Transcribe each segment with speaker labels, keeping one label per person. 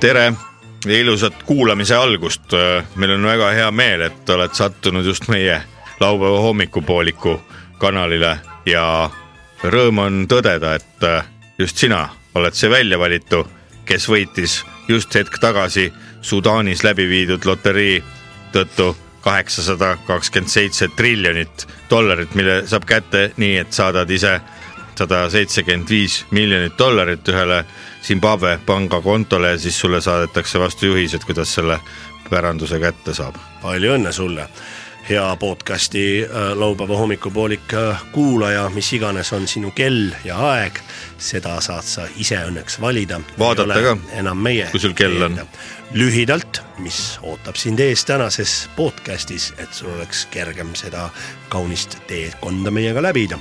Speaker 1: tere ja ilusat kuulamise algust. Äh, meil on väga hea meel, et oled sattunud just meie laupäeva hommikupooliku kanalile ja rõõm on tõdeda, et äh, just sina oled see väljavalitu, kes võitis just hetk tagasi Sudaanis läbi viidud loterii tõttu kaheksasada kakskümmend seitse triljonit dollarit, mille saab kätte nii, et saadad ise sada seitsekümmend viis miljonit dollarit ühele Zimbabwe pangakontole ja siis sulle saadetakse vastu juhised, kuidas selle päranduse kätte saab.
Speaker 2: palju õnne sulle, hea podcasti äh, laupäeva hommikupoolik äh, kuulaja, mis iganes on sinu kell ja aeg, seda saad sa ise õnneks valida.
Speaker 1: vaadata ka,
Speaker 2: enam meie.
Speaker 1: kui sul kell on.
Speaker 2: lühidalt, mis ootab sind ees tänases podcastis, et sul oleks kergem seda kaunist teekonda meiega läbida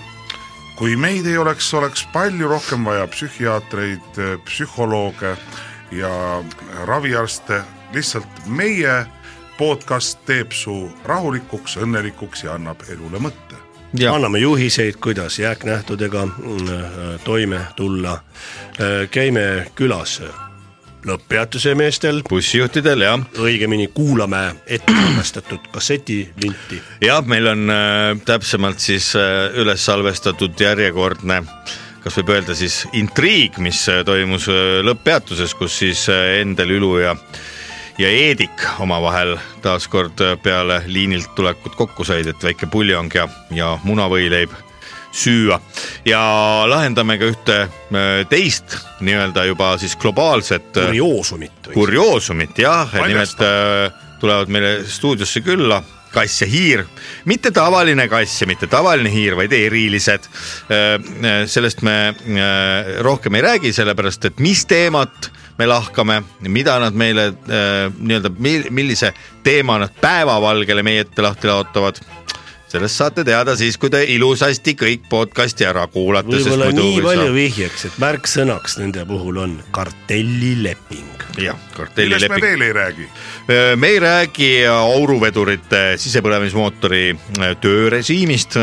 Speaker 3: kui meid ei oleks, oleks palju rohkem vaja psühhiaatreid, psühholooge ja raviarste. lihtsalt meie podcast teeb su rahulikuks, õnnelikuks ja annab elule mõtte.
Speaker 2: Ja. anname juhiseid, kuidas jääknähtudega mm, äh, toime tulla. Äh, käime külas äh, lõpppeatuse meestel.
Speaker 1: bussijuhtidel jah.
Speaker 2: õigemini kuulame ettevalmistatud kassetilinti.
Speaker 1: jah, meil on äh, täpsemalt siis äh, üles salvestatud järjekordne kas võib öelda siis intriig, mis toimus äh, lõpppeatuses, kus siis äh, Endel Ülu ja ja Eedik omavahel taas kord äh, peale liinilt tulekut kokku said, et väike puljong ja, ja munavõileib süüa ja lahendame ka ühte äh, teist nii-öelda juba siis globaalset. äh,
Speaker 2: kurioosumit.
Speaker 1: kurioosumit jah, nimelt äh, tulevad meile stuudiosse külla kass ja hiir, mitte tavaline kass ja mitte tavaline hiir, vaid erilised. sellest me äh, rohkem ei räägi, sellepärast et mis teemat me lahkame, mida nad meile äh, nii-öelda, millise teema nad päevavalgele meie ette lahti laotavad sellest saate teada siis, kui te ilusasti kõik podcast'i ära kuulate.
Speaker 2: võib-olla nii palju saab... vihjeks, et märksõnaks nende puhul on kartellileping.
Speaker 1: jah, kartellileping.
Speaker 3: millest me veel ei räägi?
Speaker 1: me ei räägi auruvedurite sisepõlemismootori töörežiimist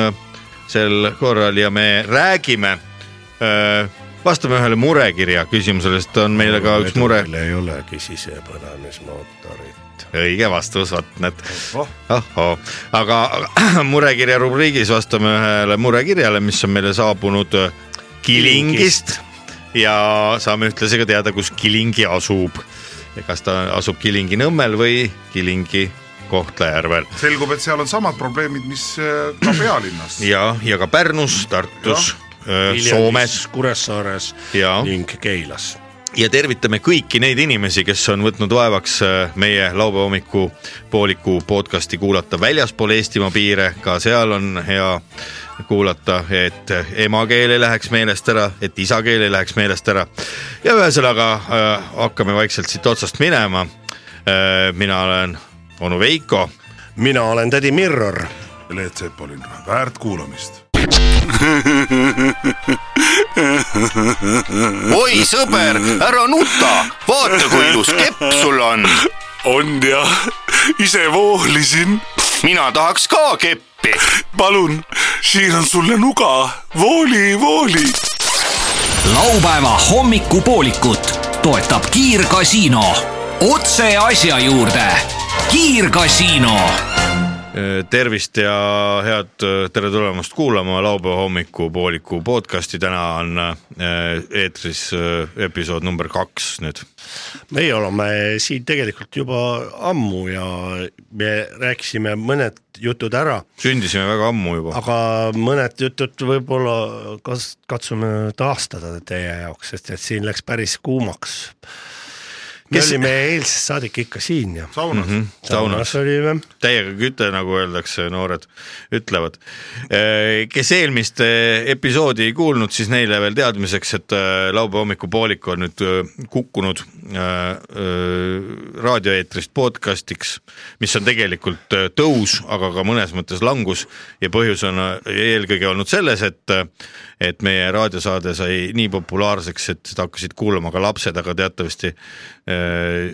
Speaker 1: sel korral ja me räägime, vastame ühele murekirja küsimusele, sest on meile ka üks mure.
Speaker 2: ei olegi sisepõlemismootorit
Speaker 1: õige vastus, vot need ohoo, aga murekirja rubriigis vastame ühele murekirjale, mis on meile saabunud Kilingist ja saame ühtlasi ka teada, kus Kilingi asub ja kas ta asub Kilingi nõmmel või Kilingi Kohtla-Järvel.
Speaker 3: selgub, et seal on samad probleemid, mis äh, ka pealinnas.
Speaker 1: ja, ja ka Pärnus, Tartus, äh, Soomes,
Speaker 2: Kuressaares
Speaker 1: ja.
Speaker 2: ning Keilas
Speaker 1: ja tervitame kõiki neid inimesi, kes on võtnud vaevaks äh, meie laupäeva hommiku pooliku podcast'i kuulata väljaspool Eestimaa piire, ka seal on hea kuulata, et emakeel ei läheks meelest ära, et isakeel ei läheks meelest ära. ja ühesõnaga äh, hakkame vaikselt siit otsast minema äh,. mina olen onu Veiko.
Speaker 2: mina olen tädi Mirror.
Speaker 3: Leet Sepolin, väärt kuulamist
Speaker 4: oi sõber, ära nuta, vaata kui ilus kepp sul on.
Speaker 5: on jah, ise voolisin.
Speaker 4: mina tahaks ka keppi.
Speaker 5: palun, siin on sulle nuga, vooli, vooli.
Speaker 6: laupäeva hommikupoolikut toetab Kiirgasiino. otse asja juurde. kiirgasiino
Speaker 1: Eh, tervist ja head eh, tere tulemast kuulama laupäeva hommikupooliku podcasti, täna on eh, eetris eh, episood number kaks nüüd.
Speaker 2: meie oleme siin tegelikult juba ammu ja me rääkisime mõned jutud ära.
Speaker 1: sündisime väga ammu juba.
Speaker 2: aga mõned jutud võib-olla kas-, katsume taastada teie jaoks, sest et siin läks päris kuumaks me kes... olime eilsest saadik ikka siin ja.
Speaker 3: saunas mm. -hmm.
Speaker 1: saunas
Speaker 2: olime.
Speaker 1: täiega küte, nagu öeldakse, noored ütlevad. kes eelmist episoodi ei kuulnud, siis neile veel teadmiseks, et laupäeva hommikupoolik on nüüd kukkunud raadioeetrist podcast'iks, mis on tegelikult tõus, aga ka mõnes mõttes langus ja põhjus on eelkõige olnud selles, et et meie raadiosaade sai nii populaarseks, et seda hakkasid kuulama ka lapsed, aga teatavasti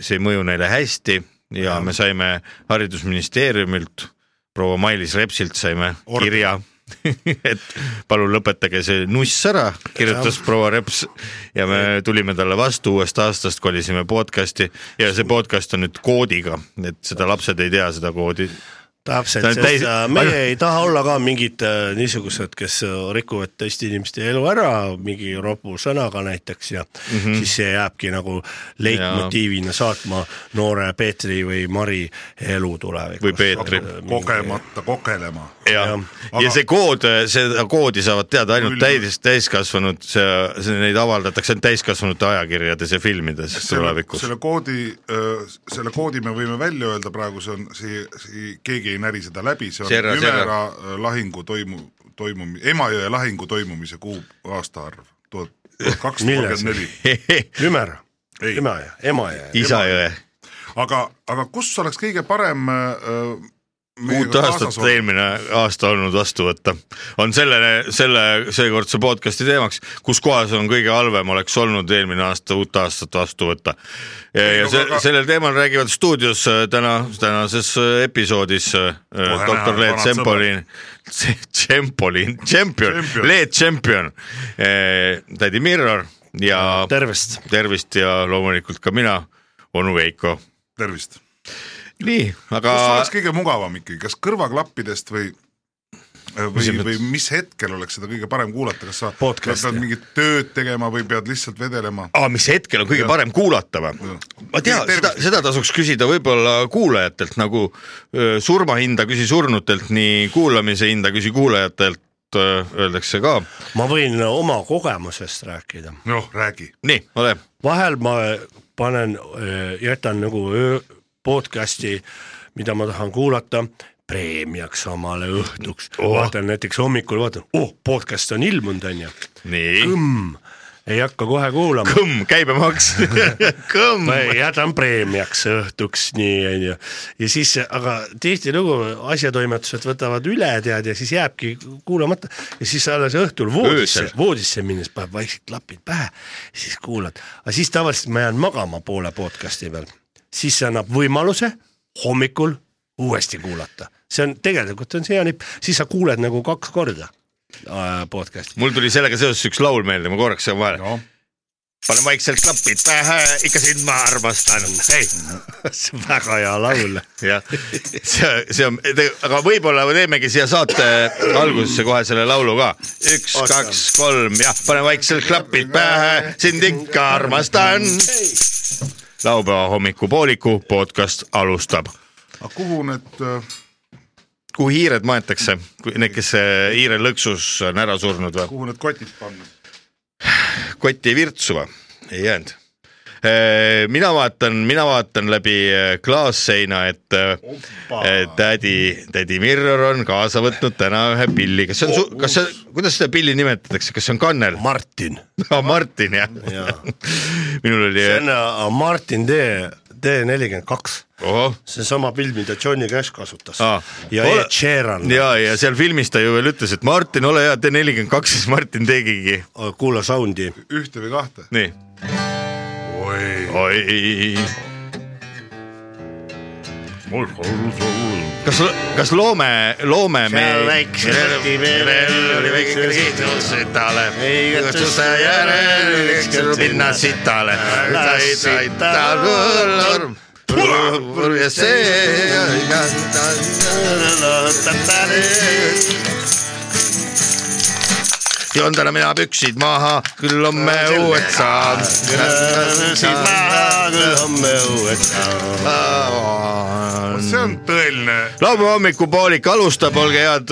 Speaker 1: see ei mõju neile hästi ja, ja. me saime haridusministeeriumilt, proua Mailis Repsilt saime Ord. kirja et palun lõpetage see nuss ära , kirjutas proua Reps ja me tulime talle vastu uuest aastast , kolisime podcast'i ja see podcast on nüüd koodiga , et seda lapsed ei tea seda koodi .
Speaker 2: täpselt
Speaker 1: Ta on , täis-
Speaker 2: sest äh, meie
Speaker 1: aga-
Speaker 2: ei taha olla ka mingid äh, niisugused , kes äh, rikuvad teiste inimeste elu ära mingi ropu sõnaga näiteks ja mm
Speaker 1: Mhm.
Speaker 2: -hmm. siis see jääbki nagu leitmotiivina saatma noore Peetri või Mari elu tulevikus .
Speaker 1: Või Peetri.
Speaker 3: kogemata kogelema .
Speaker 1: ja,
Speaker 2: Jah.
Speaker 1: ja
Speaker 3: Aga-
Speaker 1: see kood , seda koodi saavad teada ainult
Speaker 3: Küll.
Speaker 1: täis , täiskasvanud , see, see , neid avaldatakse ainult täiskasvanute ajakirjades ja filmides tulevikus .
Speaker 3: selle koodi , selle koodi me võime välja öelda praegu , see on , see, see , keegi ei näri seda läbi , see on
Speaker 1: Serra, serra.
Speaker 3: Ümera äh, lahingu toimu , toimumi- , Emajõe lahingu toimumise kuu , aastaarv , tuhat kakssada
Speaker 2: Milles?
Speaker 3: kolmkümmend neli .
Speaker 2: Ümer ,
Speaker 3: Ei.
Speaker 2: ema ja ema ja .
Speaker 1: Isajõe ,
Speaker 3: aga , aga kus oleks kõige parem äh, meiega
Speaker 1: uut aastat
Speaker 3: kaasas olla?
Speaker 1: eelmine aasta olnud vastu võtta , on selle , selle , seekordse podcast'i teemaks , kus kohas on kõige halvem oleks olnud eelmine aasta uut aastat vastu võtta . ja
Speaker 3: no
Speaker 1: se-
Speaker 3: aga- ,
Speaker 1: sellel teemal räägivad stuudios äh, täna , tänases äh, episoodis äh,
Speaker 3: näha,
Speaker 1: doktor Leet
Speaker 3: vanad
Speaker 1: Sempolin , Sempolin , tšempion ,
Speaker 3: Tšempion.
Speaker 1: Leet tšempion , tädi Mirror ja
Speaker 2: tervist .
Speaker 1: tervist ja loomulikult ka mina , onu Veiko .
Speaker 3: tervist .
Speaker 1: nii , aga
Speaker 3: kus oleks kõige mugavam ikkagi , kas kõrvaklappidest või äh, või ,
Speaker 1: mõttes?
Speaker 3: või mis hetkel oleks seda kõige parem kuulata , kas sa
Speaker 2: Podcasti.
Speaker 3: pead mingit tööd tegema või pead lihtsalt vedelema ?
Speaker 1: ah, , mis hetkel on kõige
Speaker 3: Jah.
Speaker 1: parem kuulata või
Speaker 3: Jah. ?
Speaker 1: ma tean ,
Speaker 3: Tervist.
Speaker 1: seda , seda tasuks küsida võib-olla kuulajatelt nagu öö, surmahinda küsi surnutelt , nii kuulamise hinda küsi kuulajatelt , öeldakse ka .
Speaker 2: ma võin oma kogemusest rääkida ,
Speaker 3: noh , räägi .
Speaker 1: nii , ole ,
Speaker 2: vahel ma eh, panen , jätan nagu öö podcast'i , mida ma tahan kuulata preemiaks omale õhtuks oh. , vaatan näiteks hommikul vaatan , oh podcast on ilmunud onju ,
Speaker 1: nii ,
Speaker 2: ei hakka kohe kuulama ,
Speaker 1: kõmm , käibemaks , kõmm .
Speaker 2: jätan preemiaks õhtuks nii onju ja siis , aga tihtilugu asjatoimetused võtavad üle tead ja siis jääbki kuulamata ja siis alles õhtul voodisse
Speaker 1: Öösel. ,
Speaker 2: voodisse minnes paneb vaikselt klapid pähe , siis kuulad , aga siis tavaliselt ma jään magama poole podcast'i peal , siis see annab võimaluse hommikul uuesti kuulata , see on tegelikult on see , siis sa kuuled nagu kaks korda äh, podcast'i .
Speaker 1: mul tuli sellega seoses üks laul meelde , ma korraks segan vahele .
Speaker 3: noh ,
Speaker 1: panen vaikselt klapid pähe , ikka sind ma armastan .
Speaker 2: see on väga hea laul .
Speaker 1: jah , see , see on , aga võib-olla me teemegi siia saate algusesse kohe selle laulu ka . üks , kaks , kolm , jah , pane vaikselt klapid pähe , sind ikka armastan . laupäeva hommikupooliku podcast alustab .
Speaker 3: aga kuhu need äh,
Speaker 1: kuhu hiired maetakse , need , kes äh, hiire lõksus on ära surnud või ?
Speaker 3: kuhu need kotid panna ?
Speaker 1: kotti ei virtsu või ? ei jäänud . mina vaatan , mina vaatan läbi äh, klaasseina , et äh, äh, tädi , tädi Mirror on kaasa võtnud täna ühe pilli , kas see on
Speaker 2: Oh,
Speaker 1: su- , kas see , kuidas seda pilli nimetatakse , kas see on kannel ?
Speaker 2: Martin .
Speaker 1: Martin jah
Speaker 2: Jaa. ?
Speaker 1: minul oli
Speaker 2: see , on äh, Martin D , D nelikümmend kaks ,
Speaker 1: ohoh
Speaker 2: see on sama pild , mida Johnny Cash kasutas
Speaker 1: Aa.
Speaker 2: ja
Speaker 1: Ole-
Speaker 2: Ed Sheeran
Speaker 1: ja , ja seal filmis ta ju veel ütles , et Martin , ole hea , tee nelikümmend kaks , siis Martin tegigi .
Speaker 2: äh, kuula sound'i .
Speaker 3: ühte või kahte ?
Speaker 1: nii .
Speaker 3: oi ,
Speaker 1: oi . kas , kas loome , loome me .
Speaker 2: Ei katsusta järel, eks ta pinna
Speaker 1: sitale .
Speaker 2: Sai- sai ta kurl-
Speaker 1: ja joon täna mina püksid maha , küll homme uued saan .
Speaker 3: see on tõeline ,
Speaker 1: Äh, laupäeva hommikupoolik alustab , olge head ,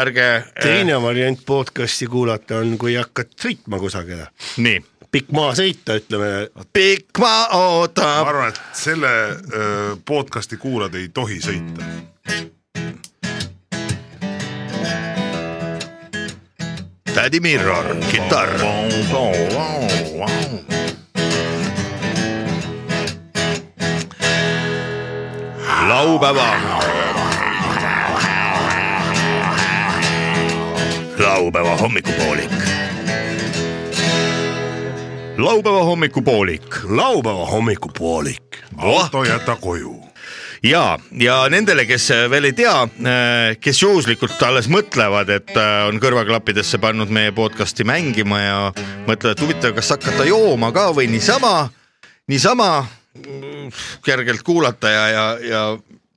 Speaker 1: ärge . äh,
Speaker 2: teine variant podcast'i kuulata on , kui hakkad sõitma kusagile ,
Speaker 1: nii .
Speaker 2: pikk maasõita , ütleme ,
Speaker 1: pikk maa
Speaker 3: ma
Speaker 1: ootab .
Speaker 3: arvan , et selle äh, podcast'i kuulajad ei tohi sõita .
Speaker 1: tädi Mirror , kitarr . laupäeva . laupäeva hommikupoolik . laupäeva hommikupoolik
Speaker 2: laupäeva oh, hommikupoolik .
Speaker 3: auto jäta koju .
Speaker 1: ja , ja nendele , kes äh, veel ei tea , kes juhuslikult alles mõtlevad , et äh, on kõrvaklappidesse pannud meie podcast'i mängima ja mõtlevad , et huvitav , kas hakata jooma ka või niisama , niisama mm, kergelt kuulata ja , ja , ja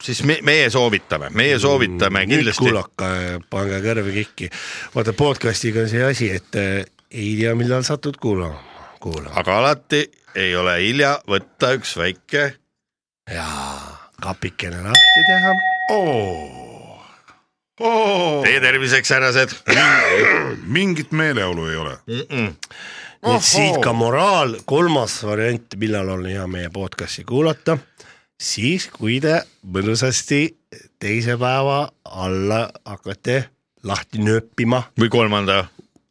Speaker 1: siis me, meie soovitame , meie soovitame
Speaker 2: Mm, nüüd
Speaker 1: kindlasti .
Speaker 2: kuulake , pange kõrve kikki . vaata podcast'iga on see asi , et äh, ei tea , millal satud kuulama , kuulama .
Speaker 1: aga alati ei ole hilja võtta üks väike
Speaker 2: jaa , kapikene noh. lahti teha .
Speaker 1: tee terviseks , härrased .
Speaker 3: mingit meeleolu ei ole .
Speaker 2: nii et siit ka moraal , kolmas variant , millal on hea meie podcast'i kuulata , siis kui te mõnusasti teise päeva alla hakkate lahti nööpima
Speaker 1: või kolmanda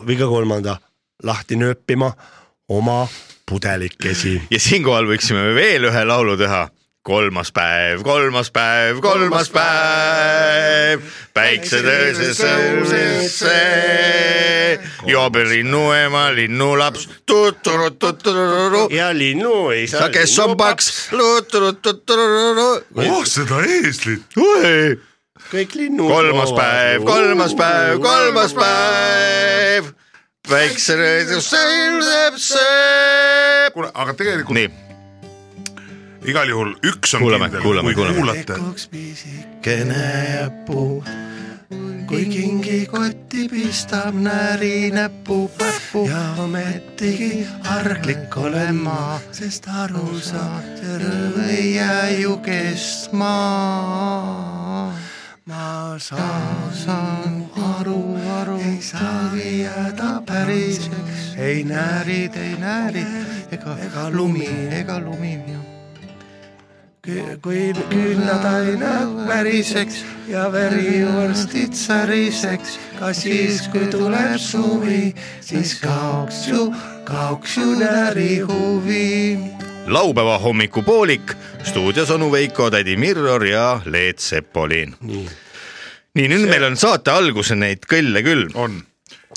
Speaker 2: või ka kolmanda lahti nööpima oma pudelikesi .
Speaker 1: ja siinkohal võiksime veel ühe laulu teha . kolmas päev , kolmas päev , kolmas päev , päikse tõuses õusesse , joob linnu ema , linnulaps , tuturututuru ,
Speaker 2: ja linnu ei saa .
Speaker 1: sa kes on paks , luturututuru ,
Speaker 3: oh seda eeslit ,
Speaker 2: kõik linnud .
Speaker 1: kolmas päev , kolmas päev , kolmas päev , päikse tõuses õusesse .
Speaker 3: kuule , aga tegelikult
Speaker 1: nii ,
Speaker 3: igal juhul üks on
Speaker 1: Kuulame,
Speaker 3: kindel ,
Speaker 1: kuulame,
Speaker 3: kui
Speaker 1: kuulame.
Speaker 3: kuulate ,
Speaker 2: üks pisikene puu , kui kingikotti pistab näri näpu päppu ja ometigi arglik olen ma , sest aru saan , see rõõm ei jää ju kestma . ma saan , saan aru , aru , ei saagi jääda päriseks , ei närid , ei näri ega , ega lumi , ega lumi Kü- kui küünlad aina väriseks ja veri vorstid säriseks , ka siis , kui tuleb suvi , siis kaoks ju , kaoks ju näri huvi .
Speaker 1: laupäeva hommikupoolik , stuudios onu Veiko , tädi Mirror ja Leet Sepolin . nii, nii , nüüd see... meil on saate alguse neid kõlle küll .
Speaker 3: on .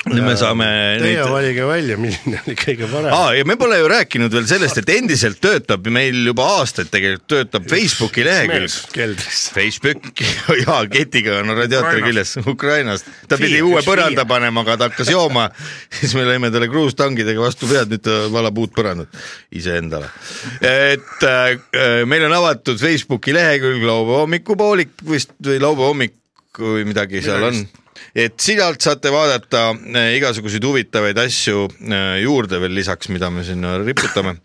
Speaker 1: nüüd me saame neid .
Speaker 2: valige välja , milline oli kõige parem
Speaker 1: aa , ja me pole ju rääkinud veel sellest , et endiselt töötab meil juba aastaid tegelikult töötab Facebooki lehekülg .
Speaker 2: keldris .
Speaker 1: Facebook ja ketiga on radiaatori küljes
Speaker 3: Ukrainast.
Speaker 1: Ukrainast , ta pidi
Speaker 2: Viie,
Speaker 1: uue
Speaker 2: üks
Speaker 1: põranda
Speaker 2: viie.
Speaker 1: panema , aga ta hakkas jooma , siis me lõime talle kruustangidega vastu pead , nüüd ta valab uut põrandat iseendale . et äh, meil on avatud Facebooki lehekülg laupäeva hommikupoolik vist või laupäeva hommik või midagi seal on et sealt saate vaadata äh, igasuguseid huvitavaid asju äh, juurde veel lisaks , mida me sinna riputame ,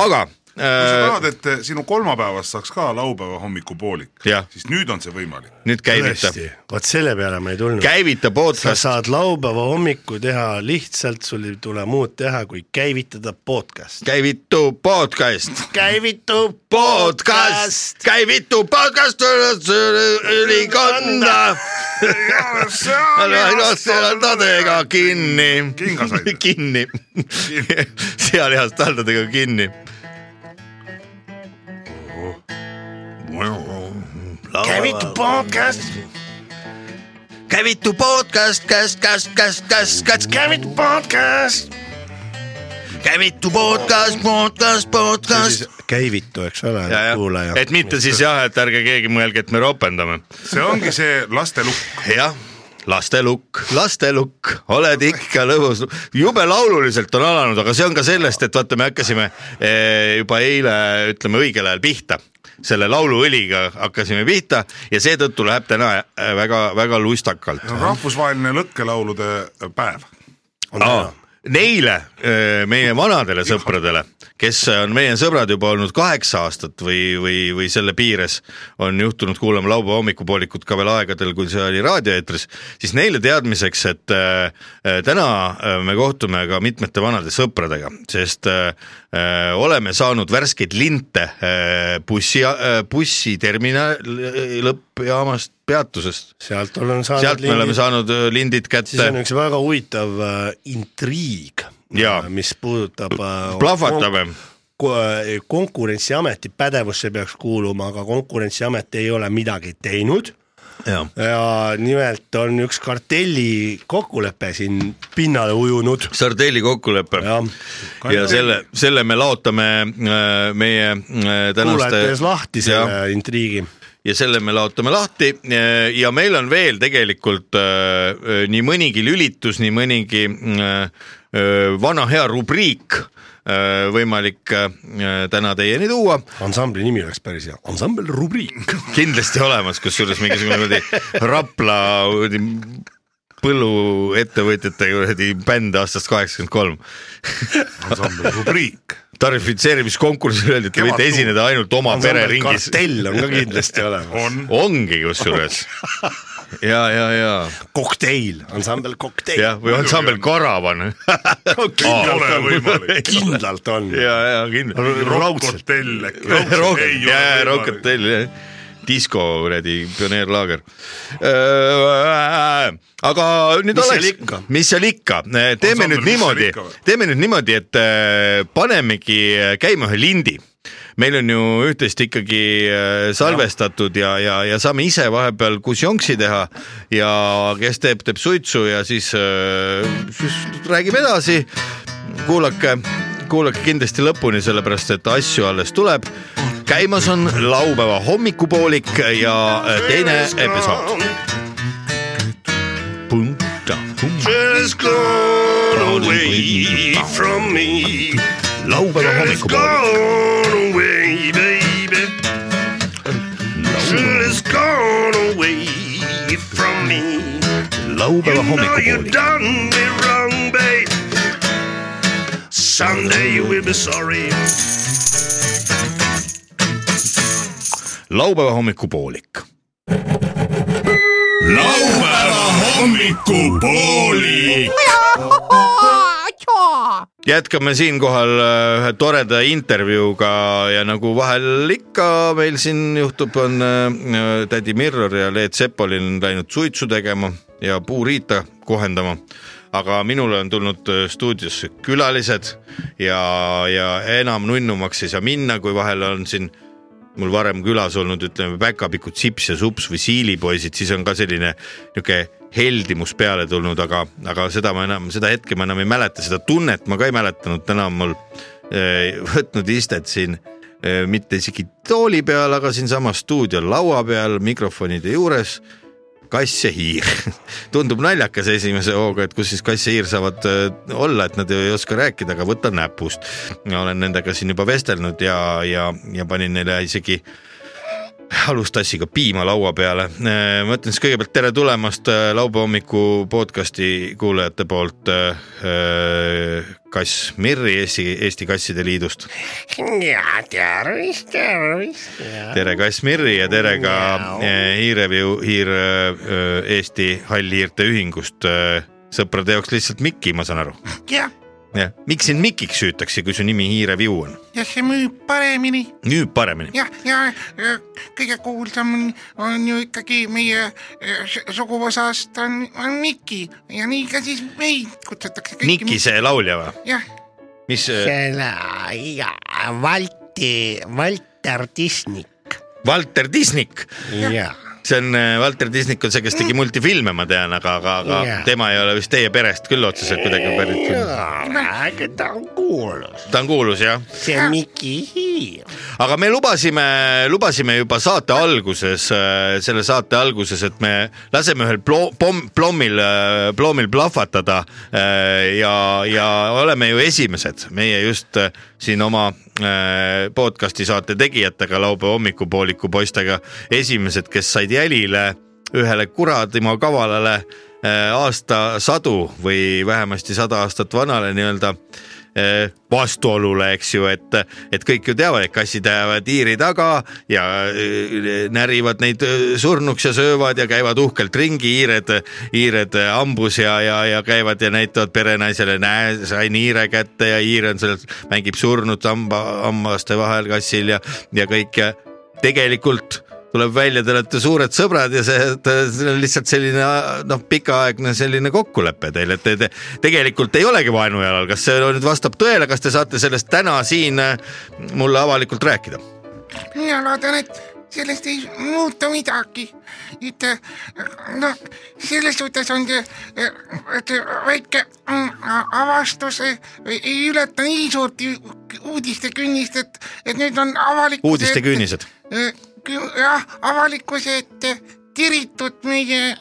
Speaker 1: aga
Speaker 3: kui sa
Speaker 1: äh,
Speaker 3: tahad , et eh, sinu kolmapäevast saaks ka laupäeva hommikupoolik
Speaker 1: Jah. ,
Speaker 3: siis nüüd on see võimalik .
Speaker 1: nüüd käivita ,
Speaker 2: tõesti , vot selle peale ma ei tulnud .
Speaker 1: käivita
Speaker 2: sa
Speaker 1: podcast .
Speaker 2: saad laupäeva hommiku teha lihtsalt , sul ei tule muud teha , kui käivitada podcast .
Speaker 1: käivitub podcast ,
Speaker 2: käivitub
Speaker 1: podcast , käivitub podcast ülikonda . seal taldadega kinni .
Speaker 3: Kingasaid.
Speaker 1: kinni , sealihast taldadega kinni .
Speaker 2: käivitub podcast ,
Speaker 1: käivitub podcast , kas , kas , kas , kas , kas
Speaker 2: käivitub podcast .
Speaker 1: käivitub podcast , podcast , podcast .
Speaker 2: käivitu , eks ole
Speaker 1: ja , ja
Speaker 2: kuulaja .,
Speaker 1: et mitte siis jah , et ärge keegi mõelge , et me ropendame
Speaker 3: see ongi see lastelukk ,
Speaker 1: jah , lastelukk , lastelukk , oled ikka lõbus , jube laululiselt on alanud , aga see on ka sellest , et vaata , me hakkasime eh, juba eile , ütleme õigel ajal pihta selle lauluõliga hakkasime pihta ja seetõttu läheb täna eh, väga-väga lustakalt .
Speaker 3: rahvusvaheline lõkkelaulude päev .
Speaker 1: Aa, Neile , meie vanadele sõpradele , kes on meie sõbrad juba olnud kaheksa aastat või , või , või selle piires , on juhtunud kuulama laupäeva hommikupoolikut ka veel aegadel , kui see oli raadioeetris , siis neile teadmiseks , et äh, äh, täna äh, me kohtume ka mitmete vanade sõpradega , sest äh, äh, oleme saanud värskeid linte äh, bussi , bussiterminali lõppjaamast , peatusest .
Speaker 2: sealt olen saanud .
Speaker 1: sealt me oleme saanud äh, lindid
Speaker 2: siis on
Speaker 1: kätte ,
Speaker 2: üks väga huvitav äh, intriig äh,
Speaker 1: Jaa. ,
Speaker 2: mis puudutab äh,
Speaker 1: plahvatame
Speaker 2: kon- ko- äh, konkurentsiameti pädevusse peaks kuuluma , aga konkurentsiamet ei ole midagi teinud
Speaker 1: Jaa.
Speaker 2: ja nimelt on üks kartelli kokkulepe siin pinnale ujunud .
Speaker 1: Sardelli kokkulepe ja,
Speaker 2: jah ,
Speaker 1: ja selle , selle me laotame äh, meie äh,
Speaker 2: kuulajate ees
Speaker 1: tänaste
Speaker 2: lahti selle intriigi .
Speaker 1: ja selle me laotame lahti äh, ja meil on veel tegelikult äh, nii mõnigi lülitus , nii mõnigi äh, äh, vana hea rubriik äh, võimalik äh, täna teieni tuua
Speaker 2: ansambli nimi oleks päris hea , ansambel Rubriik .
Speaker 1: kindlasti olemas , kusjuures mingisugune kuradi Rapla kuradi põlluettevõtjate kuradi bänd aastast kaheksakümmend kolm .
Speaker 3: ansambli rubriik .
Speaker 1: tarifitseerimiskonkursil öeldi , et te võite
Speaker 3: Kevadtuul.
Speaker 1: esineda ainult oma pereringis .
Speaker 2: kartell on ka kindlasti olemas .
Speaker 3: on ,
Speaker 1: ongi kusjuures ja , ja , ja ,
Speaker 2: kokteil , ansambel Kokteil .
Speaker 1: jah , või ansambel Karavan .
Speaker 3: ei ole võimalik .
Speaker 2: kindlalt on .
Speaker 1: ja , ja kindlasti .
Speaker 3: Rock Hotel äkki .
Speaker 1: Rock , ja , ja Rock . Hotel , jah . disko kuradi pioneerlaager . aga nüüd
Speaker 2: Mis seal
Speaker 1: oleks
Speaker 2: ikka? ,
Speaker 1: mis seal ikka , teeme
Speaker 3: Ansambel,
Speaker 1: nüüd
Speaker 3: mis seal
Speaker 1: niimoodi
Speaker 3: ikka või? ,
Speaker 1: teeme nüüd niimoodi , et äh, panemegi äh, käima ühe lindi meil on ju üht-teist ikkagi äh, salvestatud ja , ja , ja saame ise vahepeal kusjonksi teha ja kes teeb , teeb suitsu ja siis , siis räägime edasi . kuulake , kuulake kindlasti lõpuni , sellepärast et asju alles tuleb . käimas on laupäeva hommikupoolik ja äh, teine episood .
Speaker 2: Just gone away from me .
Speaker 1: laupäeva hommikupoolik .
Speaker 2: Gone away, baby. Just gone away from me.
Speaker 1: laupäeva
Speaker 2: No, you
Speaker 1: hommikupoolik .
Speaker 2: done me wrong, babe. Someday you will be sorry.
Speaker 1: laupäeva hommikupoolik
Speaker 5: laupäeva hommikupoolik .
Speaker 1: jätkame siinkohal äh, ühe toreda intervjuuga ja nagu vahel ikka meil siin juhtub , on äh, tädi Mirror ja Leet Sepolin läinud suitsu tegema ja puuriita kohendama . aga minule on tulnud äh, stuudiosse külalised ja , ja enam nunnumaks ei saa minna , kui vahel on siin mul varem külas olnud , ütleme päkapikud Sips ja Sups või Siilipoisid , siis on ka selline niisugune heldimus peale tulnud , aga , aga seda ma enam , seda hetke ma enam ei mäleta , seda tunnet ma ka ei mäletanud , täna on mul eh, võtnud istet siin eh, mitte isegi tooli peal , aga siinsamas stuudio laua peal mikrofonide juures kass ja hiir . tundub naljakas esimese hooga , et kus siis kass ja hiir saavad öö, olla , et nad ju ei oska rääkida , aga võta näpust . olen nendega siin juba vestelnud ja , ja , ja panin neile isegi alustassiga piima laua peale . ma ütlen siis kõigepealt tere tulemast öö, laupäeva hommiku podcast'i kuulajate poolt . kass Mirri Eesti , Eesti Kasside Liidust .
Speaker 2: ja tervist , tervist .
Speaker 1: tere , Kass Mirri ja tere ka eh, hiirevju , hiir eh, Eesti Hallihiirte Ühingust , sõprade jaoks lihtsalt Mikki , ma saan aru .
Speaker 7: jah ,
Speaker 1: jah , miks sind Mikiks hüütakse , kui su nimi hiirevju on ?
Speaker 7: ja see müüb paremini
Speaker 1: nüüd paremini .
Speaker 7: ja , ja äh, kõige kuulsam on, on ju ikkagi meie äh, s- suguvõsast on , on Niki ja nii ka siis meid kutsutakse .
Speaker 1: Niki . see laulja või ?
Speaker 7: jah ,
Speaker 1: mis , eh,
Speaker 8: selle ja Valti , Valter Tisnik
Speaker 1: Walter Disnik ,
Speaker 8: ja ,
Speaker 1: see on , Walter Disnik on see , kes tegi multifilme , ma tean , aga , aga , aga
Speaker 8: Jaa.
Speaker 1: tema ei ole vist teie perest küll otseselt kuidagi pärit .
Speaker 8: aga ta on kuulus ,
Speaker 1: ta on kuulus jah
Speaker 8: see Miki Hiir .
Speaker 1: aga me lubasime , lubasime juba saate alguses , selle saate alguses , et me laseme ühel plo- , pomm , plommil , plommil plahvatada äh, ja , ja oleme ju esimesed , meie just äh, siin oma äh, podcast'i saate tegijatega , laupäeva hommikupooliku poistega , esimesed , kes said jälile ühele kuradima kavalale äh, aastasadu või vähemasti sada aastat vanale nii-öelda äh, vastuolule , eks ju , et , et kõik ju teavad , et kassid ajavad hiiri taga ja äh, närivad neid äh, surnuks ja söövad ja käivad uhkelt ringi , hiired , hiired äh, hambus ja , ja , ja käivad ja näitavad perenaisele , näe , sain hiire kätte ja hiir on seal , mängib surnud hamba , hammaste vahel kassil ja , ja kõik ja tegelikult tuleb välja , te olete suured sõbrad ja see , see on lihtsalt selline noh , pikaaegne selline kokkulepe teil , et te, te tegelikult ei olegi vaenu jalal , kas see nüüd vastab tõele , kas te saate sellest täna siin äh, mulle avalikult eh, rääkida ?
Speaker 7: mina loodan , et sellest ei muutu midagi . et äh, noh , selles suhtes on see , et väike mm, a- avastus eh, ei ei ületa nii suurt ju- uudistekünnist , et , et nüüd on avalik .
Speaker 1: uudistekünnised .
Speaker 7: jah , avalikkuse ette tiritud meie ,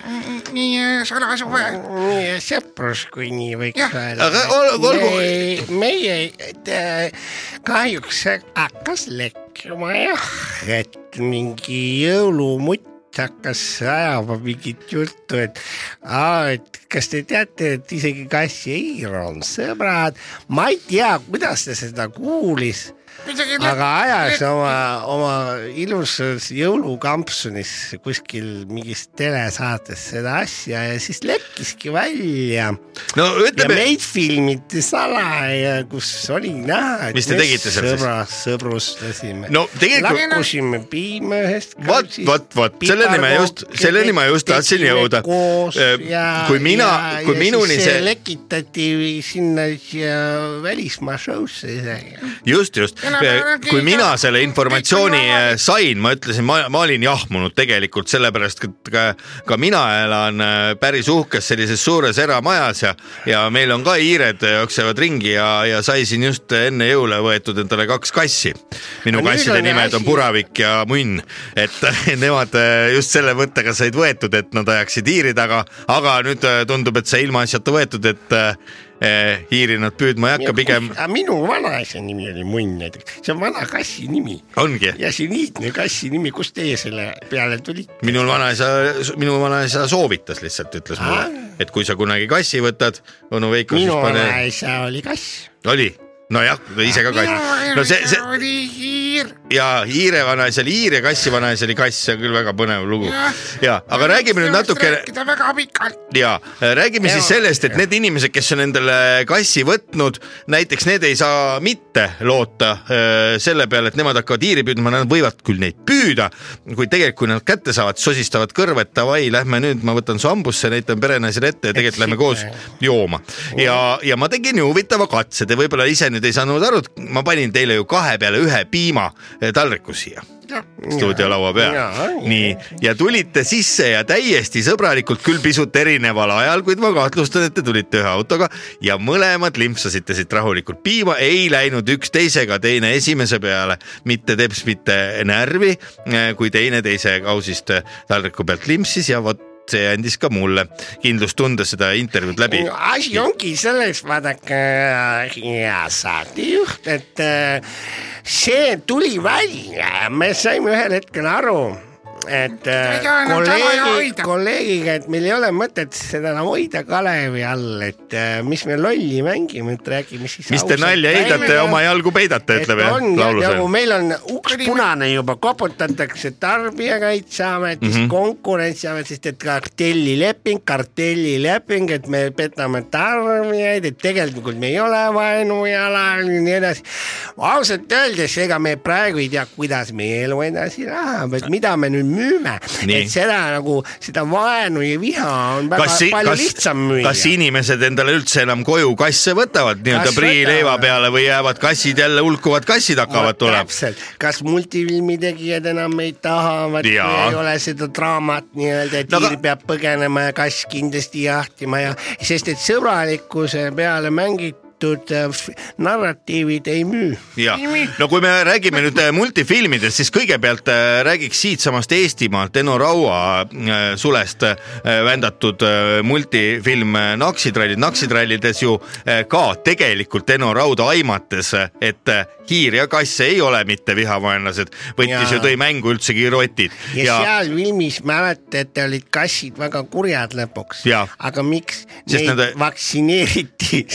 Speaker 7: meie salasuve .
Speaker 2: meie sõprus , kui nii võiks
Speaker 7: Jah,
Speaker 2: öelda .
Speaker 1: aga ol- olgu- .
Speaker 2: meie et, äh, kahjuks hakkas lekkima jah , et mingi jõulumutt hakkas ajama mingit juttu , et aa , et kas te teate , et isegi kass ja hiir on sõbrad . ma ei tea , kuidas ta seda kuulis aga ajas oma , oma ilusas jõulukampsunis kuskil mingis telesaates seda asja ja siis lekkiski välja .
Speaker 1: no
Speaker 2: ja
Speaker 1: ütleme ,
Speaker 2: meid filmiti salaja , kus oli näha , et
Speaker 1: Mis te tegite seal siis?
Speaker 2: sõbra , sõbrustasime .
Speaker 1: no tegelikult
Speaker 2: lakkusime piima ühest .
Speaker 1: vot , vot , vot selleni ma just , selleni ma just tahtsin jõuda . kui mina , kui minuni see ,
Speaker 2: lekitati sinna siia välismaa show'sse isegi .
Speaker 1: just , just , kui mina selle informatsiooni eh, sain , ma ütlesin , ma , ma olin jahmunud tegelikult sellepärast , et ka, ka mina elan eh, päris uhkes sellises suures eramajas ja , ja meil on ka hiired eh, jooksevad ringi ja , ja sai siin just enne jõule võetud endale kaks kassi . minu
Speaker 2: Aga nüüd
Speaker 1: kasside
Speaker 2: on
Speaker 1: nimed on
Speaker 2: asi-
Speaker 1: Puravik ja Munn , et nemad eh, just selle mõttega said võetud , et nad ajaksid hiiri taga , aga nüüd eh, tundub , et see ilmaasjata võetud , et eh, hiiri nad püüdma ei hakka , pigem
Speaker 2: aga minu vanaisa nimi oli Munn näiteks , see on vana kassi nimi
Speaker 1: ongi
Speaker 2: ja see on iidne kassi nimi , kust teie selle peale tulite ?
Speaker 1: minul vanaisa , minu vanaisa soovitas lihtsalt , ütles mulle , et kui sa kunagi kassi võtad , onu Veiko siis
Speaker 2: minu
Speaker 1: pane ,
Speaker 2: vanaisa oli kass .
Speaker 1: oli , nojah , ise ka kass . no see , see
Speaker 7: oli hiir ,
Speaker 1: ja hiire vanaisa oli hiir ja kassi vanaisa oli kass , see on küll väga põnev lugu
Speaker 7: Jah.
Speaker 1: ja , aga räägime nüüd natukene
Speaker 7: rääkida väga pikalt .
Speaker 1: ja äh, räägime siis sellest , et need inimesed , kes on endale kassi võtnud , näiteks need ei saa mitte loota öö, selle peale , et nemad hakkavad hiiri püüdma , nad võivad küll neid püüda , kuid tegelikult , kui nad kätte saavad , sosistavad kõrva , et davai , lähme nüüd , ma võtan su hambusse , näitan perenaisele ette ja tegelikult lähme koos jooma . ja , ja ma tegin ju huvitava katse , te võib-olla ise nüüd ei saanud aru , ma panin teile ju kahe peale ühe piima eh, taldriku siia stuudiolaua
Speaker 2: Jaa,
Speaker 1: peal . nii , ja tulite sisse ja täiesti sõbralikult , küll pisut erineval ajal , kuid ma kahtlustan , et te tulite ühe autoga ja mõlemad limpsasite siit rahulikult piima , ei läinud üks teisega , teine esimese peale , mitte teps , mitte närvi , kui teine teise kausist taldriku pealt limpsis ja vot see andis ka mulle kindlustunde seda intervjuud läbi .
Speaker 2: asi ongi selles , vaadake , hea saatejuht , et äh, see tuli välja ja me saime ühel hetkel aru , et äh,
Speaker 7: Ei saa enam salaja
Speaker 2: kolleegi ,
Speaker 7: hoida.
Speaker 2: kolleegiga , et meil ei ole mõtet seda enam hoida kalevi all , et äh, mis me lolli mängime , et räägime siis .
Speaker 1: mis te nalja heidate , oma jalgu peidate , ütleb
Speaker 2: et on ja,
Speaker 1: laulusõnum
Speaker 2: nagu . meil on uks punane juba , koputatakse Tarbijakaitseametist
Speaker 1: Mhm.
Speaker 2: mm -hmm. , Konkurentsiametist , et kartellileping , kartellileping , et me petame tarbijaid , et tegelikult me ei ole vaenujalal ja nii edasi . ausalt öeldes , ega me praegu ei tea , kuidas meie elu edasi läheb , et mida me nüüd müüme ,
Speaker 1: Nii.
Speaker 2: et seda nagu , seda vaenu ja viha on väga
Speaker 1: kas,
Speaker 2: kas,
Speaker 1: si-
Speaker 2: palju kas,
Speaker 1: kas,
Speaker 2: lihtsam müüa .
Speaker 1: kas inimesed endale üldse enam koju kasse võtavad nii-öelda
Speaker 2: Kas
Speaker 1: priileiva
Speaker 2: võtavad?
Speaker 1: peale või jäävad kassid jälle , hulkuvad kassid hakkavad tulema ?
Speaker 2: täpselt , kas multifilmi tegijad enam meid tahavad , kui
Speaker 1: Jaa.
Speaker 2: ei ole seda draamat nii-öelda , et
Speaker 1: No aga-
Speaker 2: hiir peab põgenema ja kass kindlasti jahtima ja , sest et sõbralikkuse peale mängitud äh, f- narratiivid ei müü .
Speaker 1: jah , no kui me räägime nüüd äh, multifilmidest , siis kõigepealt äh, räägiks siitsamast Eestimaalt Eno Raua äh, sulest äh, vändatud äh, multifilm äh, Naksitrallid , Naksitrallides ju äh, ka tegelikult Eno Rauda aimates , et äh, hiir ja kass ei ole mitte vihavaenlased , võttis
Speaker 2: Jaa.
Speaker 1: ju , tõi mängu üldsegi rotid
Speaker 2: ja, ja seal filmis mäletate , olid kassid väga kurjad lõpuks
Speaker 1: Jaa. .
Speaker 2: aga miks
Speaker 1: Sest
Speaker 2: neid
Speaker 1: nad-
Speaker 2: nad... vaktsineeriti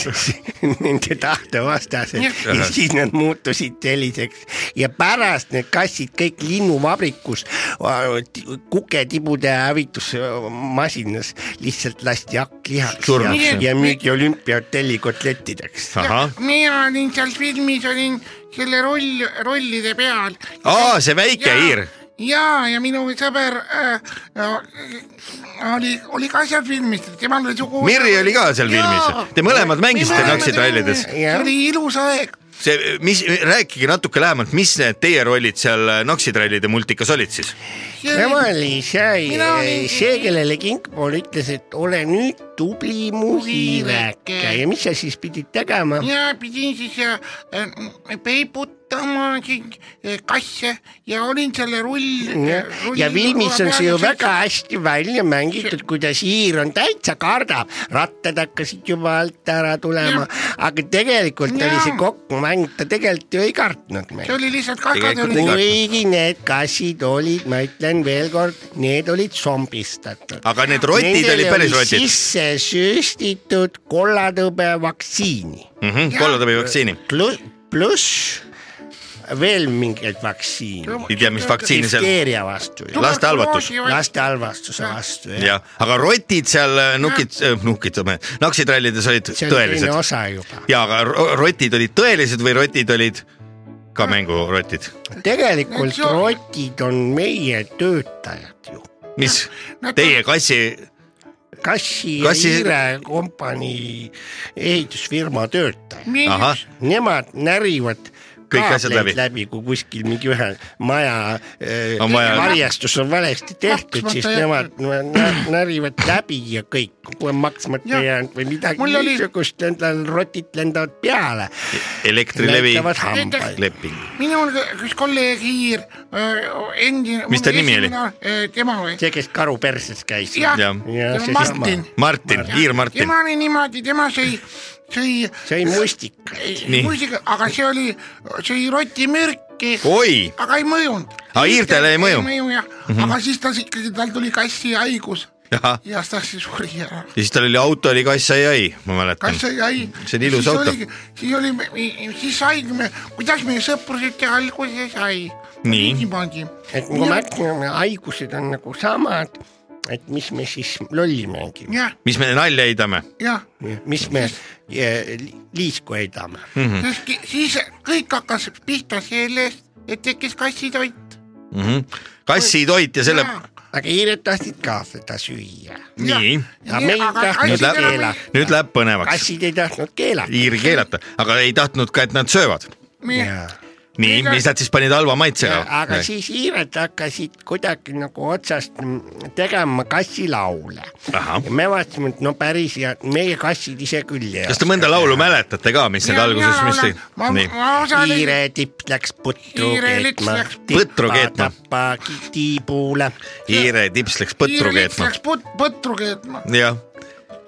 Speaker 2: nende tahte vastaselt ja siis nad muutusid selliseks ja pärast need kassid kõik linnuvabrikus äh, ti- kuketibude hävitusmasinas lihtsalt lasti hakklihaks ja,
Speaker 1: Surnuks, jah.
Speaker 2: ja müüdi olümpiahotelli kotlettideks .
Speaker 1: ahah ,
Speaker 7: mina olin seal filmis , olin selle roll , rollide peal .
Speaker 1: aa , see väike hiir
Speaker 7: ja , ja minu sõber äh, äh, oli , oli ka seal filmis , temal oli sugu .
Speaker 1: Mirri oli ka seal filmis . Te mõlemad mängisite Naksid rallides .
Speaker 7: see oli ilus aeg ,
Speaker 1: see , mis , rääkige natuke lähemalt , mis need teie rollid seal Noxitrallide multikas olid siis ?
Speaker 2: tema oli see eh,
Speaker 7: Mina olin- ,
Speaker 2: see , kellele kingpool ütles , et ole nüüd tubli muhiväke
Speaker 7: Muhiväke.
Speaker 2: ja mis sa siis pidid tegema ?
Speaker 7: mina pidin siis äh, äh, peibutama siin äh, kasse ja olin selle rull .
Speaker 2: ja filmis on see ju väga . hästi välja mängitud , kuidas Iir on täitsa kardab , rattad hakkasid juba alt ära tulema , aga tegelikult
Speaker 7: Ja.
Speaker 2: oli see kokkumäng , ta tegelikult ju ei kartnud
Speaker 7: see
Speaker 2: meid .
Speaker 7: oli lihtsalt
Speaker 1: Tegelikult
Speaker 7: kakatõrje
Speaker 1: ei .
Speaker 2: kuigi need kassid olid , ma ütlen veelkord , need olid zombistatud .
Speaker 1: aga need rotid
Speaker 2: Nendele
Speaker 1: olid päris
Speaker 2: oli
Speaker 1: rotid
Speaker 2: sisse süstitud kollatõbe vaktsiini
Speaker 1: mm -hmm, , kollatõbi vaktsiini ,
Speaker 2: Plu, , pluss veel mingeid vaktsiine ,
Speaker 1: ei tea , mis vaktsiini seal ,
Speaker 2: difteeria vastu ,
Speaker 1: laste halvatus
Speaker 2: laste halvastuse vastu jah
Speaker 1: jah , aga rotid seal äh, nukid , nukitame , Noxitrallides olid
Speaker 2: Ah. see on teine
Speaker 1: tõelised
Speaker 2: osa juba .
Speaker 1: ja aga ro- rotid olid tõelised või rotid olid ka mängurotid ,
Speaker 2: tegelikult
Speaker 7: Eks ole.
Speaker 2: rotid on meie töötajad ju .
Speaker 1: mis teie kassi
Speaker 2: kassi ja
Speaker 1: Kassi-
Speaker 2: Hiire kompanii ehitusfirma töötajad ,
Speaker 1: ahah ,
Speaker 2: nemad närivad
Speaker 1: Kõik asjad
Speaker 2: kaableid
Speaker 1: läbi.
Speaker 2: läbi , kui kuskil mingi ühe maja eh,
Speaker 1: On vaja-
Speaker 2: varjestus on valesti tehtud , siis
Speaker 7: Maksmata
Speaker 2: nemad nä- närivad läbi ja kõik , kui on maksmata
Speaker 7: Jah.
Speaker 2: jäänud või midagi
Speaker 7: Mul oli-
Speaker 2: niisugust , nendel rotid lendavad peale ,
Speaker 1: Elektrilevi
Speaker 2: näitavad hambaid .
Speaker 1: leping ,
Speaker 7: minul üks kolleeg Hiir , endine .
Speaker 1: Mis ta nimi oli? ?
Speaker 7: tema või ?
Speaker 2: see , kes karu perses käis .
Speaker 7: jah
Speaker 1: jah ,
Speaker 2: Ja see
Speaker 7: Martin .
Speaker 1: Martin , Iir Martin ,
Speaker 7: tema oli niimoodi , tema sõi , sõi
Speaker 2: sõi mustika .
Speaker 1: Nii.
Speaker 7: muusika , aga see oli , sõi rotimürki ,
Speaker 1: oi ,
Speaker 7: aga ei mõjunud .
Speaker 1: Aa, hiirtele ei mõju. Mhm.
Speaker 7: ei mõju jah , aga siis ta siis ikkagi , tal tuli kassi haigus
Speaker 1: ahah ,
Speaker 7: ja siis ta siis suri ära .
Speaker 1: ja siis tal oli auto oli kass ai ai , ma mäletan
Speaker 7: kass , sai hai- .
Speaker 1: Mm. See on ilus auto.
Speaker 7: siis oli , siis saigi me , kuidas meie sõprusite alguse sai .
Speaker 1: Nii.
Speaker 7: niimoodi .
Speaker 2: et kui me ütleme , haigused on nagu samad , et mis me siis lolli mängime ,
Speaker 7: jah ,
Speaker 1: mis me nalja heidame ,
Speaker 7: jah
Speaker 2: mis me eh, li- liisku heidame .
Speaker 1: Mhm.
Speaker 7: sest ki- siis kõik hakkas pihta sellest , et tekkis kassitoit .
Speaker 1: kassitoit Mhm. ja selle ,
Speaker 2: aga hiired tahtsid ka seda süüa .
Speaker 1: nii ,
Speaker 2: aga meil
Speaker 1: Nüüd
Speaker 2: tahtsid
Speaker 1: läheb-
Speaker 2: keelata ,
Speaker 1: nüüd läheb põnevaks ,
Speaker 2: kassid ei tahtnud keelata .
Speaker 1: Iiri keelata , aga ei tahtnud ka , et nad söövad . nii , mis nad siis panid halva maitsega ?
Speaker 2: aga siis hiired hakkasid kuidagi nagu otsast mm, tegema kassilaule .
Speaker 1: Ahah.
Speaker 2: ja me vaatasime , et no päris hea , meie kassid ise küll ei
Speaker 1: kas te mõnda laulu mäletate ka , mis need alguses , mis te ,
Speaker 7: ma ,
Speaker 1: nii ,
Speaker 7: ma osalesin ,
Speaker 2: hiire tipp läks putru
Speaker 7: Hiire lips
Speaker 2: keetma
Speaker 7: läks .
Speaker 1: Põtru keetma.
Speaker 2: tappa ki- tiibule .
Speaker 1: Iire tips läks põtru
Speaker 7: Iiriks
Speaker 1: keetma
Speaker 7: läks , put- , põtru keetma .
Speaker 1: jah ,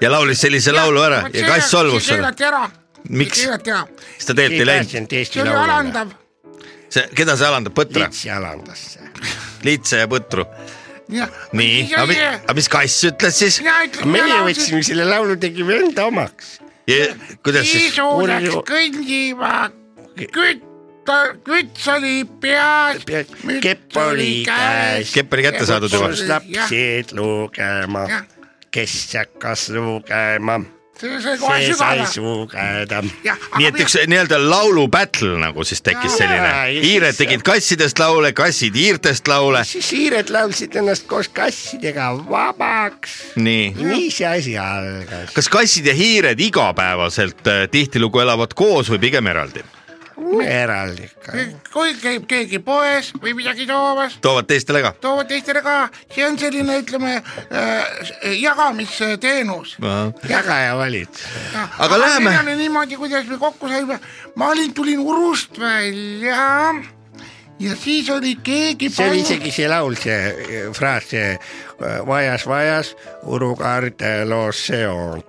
Speaker 1: ja laulis sellise laulu ära ja kass solvus
Speaker 7: selle .
Speaker 1: selle ,
Speaker 7: keelati ära .
Speaker 1: Miks?
Speaker 7: keelati ära ,
Speaker 1: siis ta tegelikult ei läinud ,
Speaker 7: see oli alandav .
Speaker 1: see , keda see alandab , põtra ,
Speaker 2: litsi alandas see .
Speaker 1: litse ja põtru , nii , aga mi-
Speaker 7: mina
Speaker 1: aga mis kass ütles siis
Speaker 7: ütlesin ,
Speaker 2: meie võtsime selle laulu , tegime enda omaks .
Speaker 1: ja kuidas siis ,
Speaker 7: isu läks
Speaker 2: Urju-
Speaker 7: kõndima , kütt , küts oli peas ,
Speaker 2: kepp oli käes .
Speaker 1: kepp oli kätte saadud juba ,
Speaker 2: kutsus
Speaker 7: Jah.
Speaker 2: lapsed lugema ,
Speaker 7: Jah.
Speaker 2: kes hakkas lugema ,
Speaker 7: see sai kohe
Speaker 2: see sai
Speaker 7: sügavale .
Speaker 2: sugeda .
Speaker 1: nii et üks nii-öelda laulu battle nagu siis tekkis selline
Speaker 2: Jaa, , ja
Speaker 1: hiired
Speaker 2: siis-
Speaker 1: tegid kassidest laule , kassid hiirtest laule ,
Speaker 2: siis hiired laulsid ennast koos kassidega vabaks .
Speaker 1: nii
Speaker 2: nii see asi algas .
Speaker 1: kas kassid ja hiired igapäevaselt äh, tihtilugu elavad koos või pigem eraldi ?
Speaker 2: eraldi ikka .
Speaker 7: kui käib keegi poes või midagi toomas ,
Speaker 1: toovad teistele ka ?
Speaker 7: toovad teistele ka , see on selline , ütleme äh, jagamisteenus .
Speaker 2: jagaja valid .
Speaker 1: Aga läheme-
Speaker 7: meil oli niimoodi , kuidas me kokku saime , ma olin , tulin Urust välja ja siis oli keegi
Speaker 2: see oli isegi see laul , see eh, fraas , see eh, vajas , vajas , Urukaart loos see on .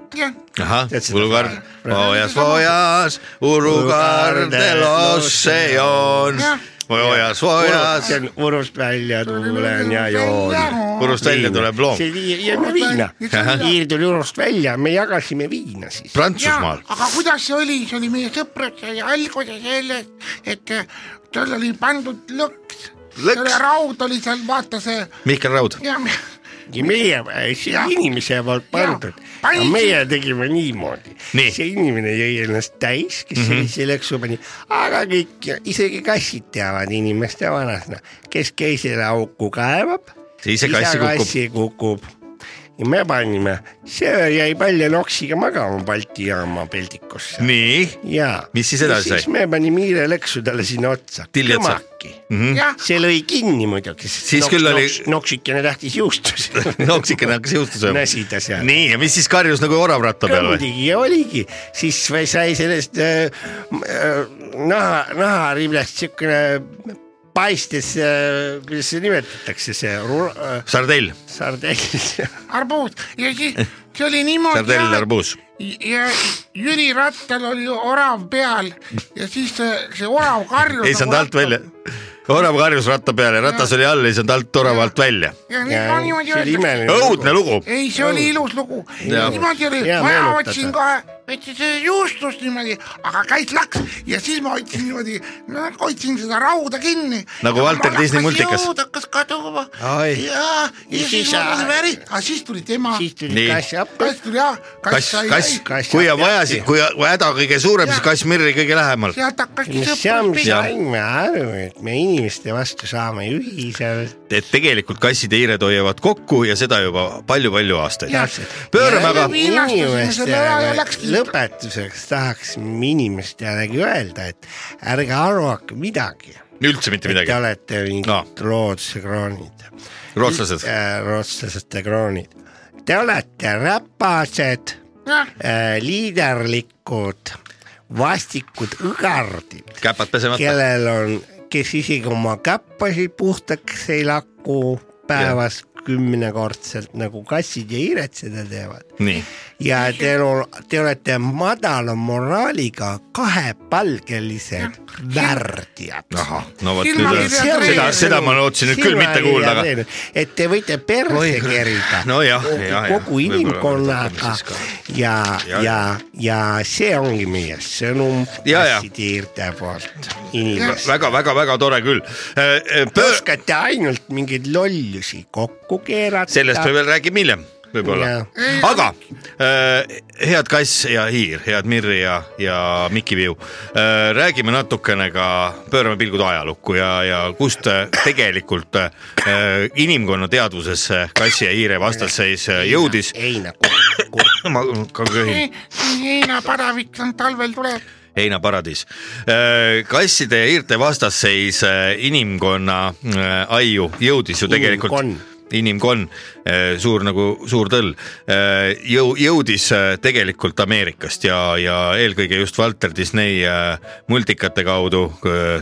Speaker 1: ahah
Speaker 2: Tead , seda
Speaker 1: Ulukar
Speaker 2: fra- , fra-
Speaker 1: Ojas , Ojas , Ulukar de los see on . Ojas , Ojas ,
Speaker 2: see on Urust välja tulen ja joon .
Speaker 1: Urust välja tuleb loom .
Speaker 2: see vii- , jääme viina . Iir tuli Urust välja , me jagasime viina siis .
Speaker 1: Prantsusmaal ,
Speaker 7: aga kuidas see oli , see oli meie sõprus , see oli alguse sellest , et äh, tal oli pandud lõks,
Speaker 1: Lõks.
Speaker 7: selle raud oli seal , vaata see
Speaker 1: Mihkel Raud ,
Speaker 7: ja
Speaker 2: ja meie , see
Speaker 7: Jah.
Speaker 2: inimese poolt pandud
Speaker 7: Jah. ,
Speaker 2: aga
Speaker 7: Paisi.
Speaker 2: meie tegime niimoodi
Speaker 1: Nii. Mhm.
Speaker 2: nii. . see inimene jõi ennast täis , kes mm -hmm. sellise leksu pani , aga kõik , isegi kassid teavad inimeste vanasõna , kes keisrile auku kaevab ,
Speaker 1: Siis see kass kukub.
Speaker 2: kassi kukub . ja me panime , see jäi palja noksiga magama Balti jaama peldikusse .
Speaker 1: nii ,
Speaker 2: ja .
Speaker 1: Mis siis edasi sai?
Speaker 2: siis me panime hiireleksu talle sinna otsa .
Speaker 1: Tilli otsa. . Hmm?
Speaker 7: jah ,
Speaker 2: see lõi kinni muidugi .
Speaker 1: Siis küll oli-
Speaker 2: noksikene tähtis juustuda .
Speaker 1: noksikene hakkas juustu sööma .
Speaker 2: näsida seal .
Speaker 1: nii , ja mis siis karjus nagu oravratta peal või ?
Speaker 2: muidugi ja oligi , siis või sai sellest äh, m- äh, naha , nahariblast siukene paistes äh, , kuidas see nimetatakse , see ru- äh,
Speaker 1: sardell ,
Speaker 2: sardell ,
Speaker 7: arbuus ja siis see oli niimoodi
Speaker 1: sardell ,
Speaker 7: ja,
Speaker 1: arbuus .
Speaker 7: ja Jüri Rattal oli orav peal ja siis see, see orav karjus . nagu
Speaker 1: ei saanud alt välja . orav karjus ratta peale , ratas oli all , ei saanud alt orava alt välja .
Speaker 7: ja nii
Speaker 2: see
Speaker 7: on niimoodi
Speaker 2: oli
Speaker 7: öeldud .
Speaker 2: imeline .
Speaker 1: õudne lugu .
Speaker 7: ei , see oli ilus lugu ,
Speaker 1: Jaa.
Speaker 7: niimoodi oli ,
Speaker 2: Hea
Speaker 7: mina
Speaker 2: meenutada.
Speaker 7: otsin kohe , võtsin see juustust niimoodi , aga käis laks ja siis ma hoidsin niimoodi , hoidsin seda rauda kinni .
Speaker 1: Nagu Walter Disney multikas.
Speaker 7: jõud hakkas kaduma
Speaker 1: Ai.
Speaker 7: ja , ja
Speaker 2: Ja
Speaker 7: siis
Speaker 2: siis
Speaker 7: ma
Speaker 2: sa-
Speaker 7: tulin väri , aga siis tuli tema ,
Speaker 2: siis tuli
Speaker 1: Nii.
Speaker 2: kass appi ,
Speaker 7: kass tuli ja , kass
Speaker 1: kass ,
Speaker 7: sai ,
Speaker 1: kass ,
Speaker 2: kass
Speaker 1: kui on
Speaker 2: saab
Speaker 1: vaja , siis kui kui häda kõige suurem , siis kass Mirri kõige lähemal .
Speaker 7: sealt hakkaski
Speaker 2: seal me
Speaker 7: sõprus pihta .
Speaker 2: saime aru , et me inimeste vastu saame ühiselt
Speaker 1: et tegelikult kassid ja hiired hoiavad kokku ja seda juba palju-palju aastaid
Speaker 7: Jah. .
Speaker 1: pöörame aga ,
Speaker 2: inimestele
Speaker 7: Läkski.
Speaker 2: lõpetuseks tahaksime inimestelegi öelda , et ärge arvake midagi ,
Speaker 1: üldse mitte
Speaker 2: et te
Speaker 1: midagi ,
Speaker 2: olete mingid
Speaker 1: No.
Speaker 2: no. Rootsi kroonid .
Speaker 1: rootslased ,
Speaker 2: rootslased ja kroonid . Te olete räpased , liiderlikud , vastikud õgardid ,
Speaker 1: käpad pesemata ,
Speaker 2: kellel on , kes isegi oma käppasid puhtaks ei laku päevas kümnekordselt nagu kassid ja hiired seda teevad
Speaker 1: nii .
Speaker 2: ja teil on , te olete madala moraaliga kahepalgelised värdjad .
Speaker 1: ahah , no vot
Speaker 7: Silma
Speaker 1: nüüd ,
Speaker 7: kirja
Speaker 1: seda ,
Speaker 7: treener.
Speaker 1: seda ma lootsin nüüd küll mitte kuulda , aga .
Speaker 2: et te võite perse kerida
Speaker 1: nojah , jah , jah .
Speaker 2: kogu inimkonnaga ja ,
Speaker 1: Ja-
Speaker 2: ja, ja , ja see ongi meie sõnum
Speaker 1: Ja- ja.
Speaker 2: kassitiirde poolt inimestele .
Speaker 1: väga-väga-väga tore küll . Äh,
Speaker 2: oskate ainult mingeid lollusi kokku keerata .
Speaker 1: sellest me veel räägime hiljem võib-olla
Speaker 2: Jaa. ,
Speaker 1: aga äh, head Kass ja Hiir , head Mirri ja , ja Mikki Viu äh, , räägime natukene ka , pöörame pilgud ajalukku ja , ja kust äh, tegelikult äh, inimkonna teadvusesse Kassi ja Hiire vastasseis äh, jõudis .
Speaker 2: heinakurku .
Speaker 1: ma ka köhin ,
Speaker 7: heinapadavik on talvel tuleb .
Speaker 1: heinaparadiis äh, . kasside ja hiirte vastasseis äh, inimkonna äh, aiu jõudis ju tegelikult
Speaker 2: Inimkonn.
Speaker 1: inimkonn , suur nagu suur tõll , jõu- , jõudis eh, tegelikult Ameerikast ja , ja eelkõige just Walter Disney eh, multikate kaudu ,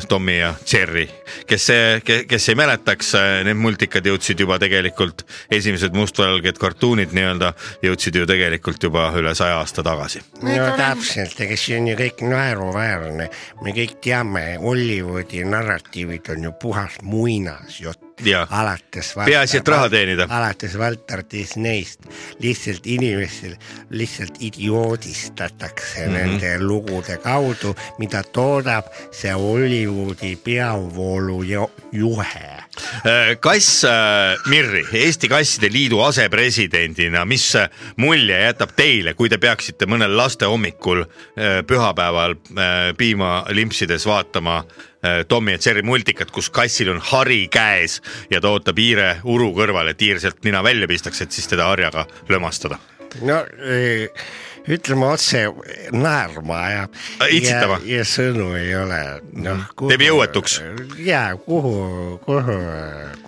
Speaker 1: Tommy ja Jerry . kes see , kes ei mäletaks , need multikad jõudsid juba tegelikult , esimesed mustvalged kartuunid nii-öelda jõudsid ju tegelikult juba üle saja aasta tagasi .
Speaker 2: no täpselt , ega see on ju kõik naeruväärne , me kõik teame , Hollywoodi narratiivid on ju puhas muinasjutt .
Speaker 1: Jah.
Speaker 2: alates .
Speaker 1: Peaasi, et raha teenida.
Speaker 2: alates Walter Disneyst , lihtsalt inimestel lihtsalt idioodistatakse mm
Speaker 1: Mhm.
Speaker 2: -hmm. nende lugude kaudu , mida toodab see Hollywoodi peavoolu ju- juhe .
Speaker 1: kass äh, Mirri , Eesti Kasside Liidu asepresidendina , mis äh, mulje jätab teile , kui te peaksite mõnel laste hommikul äh, pühapäeval äh, piima limpsides vaatama äh, Tommy ja Jerry multikat , kus kassil on hari käes ja ta ootab hiire uru kõrval , et hiir sealt nina välja pistaks , et siis teda harjaga lömastada .
Speaker 2: no eh, ütleme otse , naerma ajab .
Speaker 1: Äh, Itsitama.
Speaker 2: ja sõnu ei ole , noh .
Speaker 1: Teeb jõuetuks. .
Speaker 2: ja kuhu , kuhu ,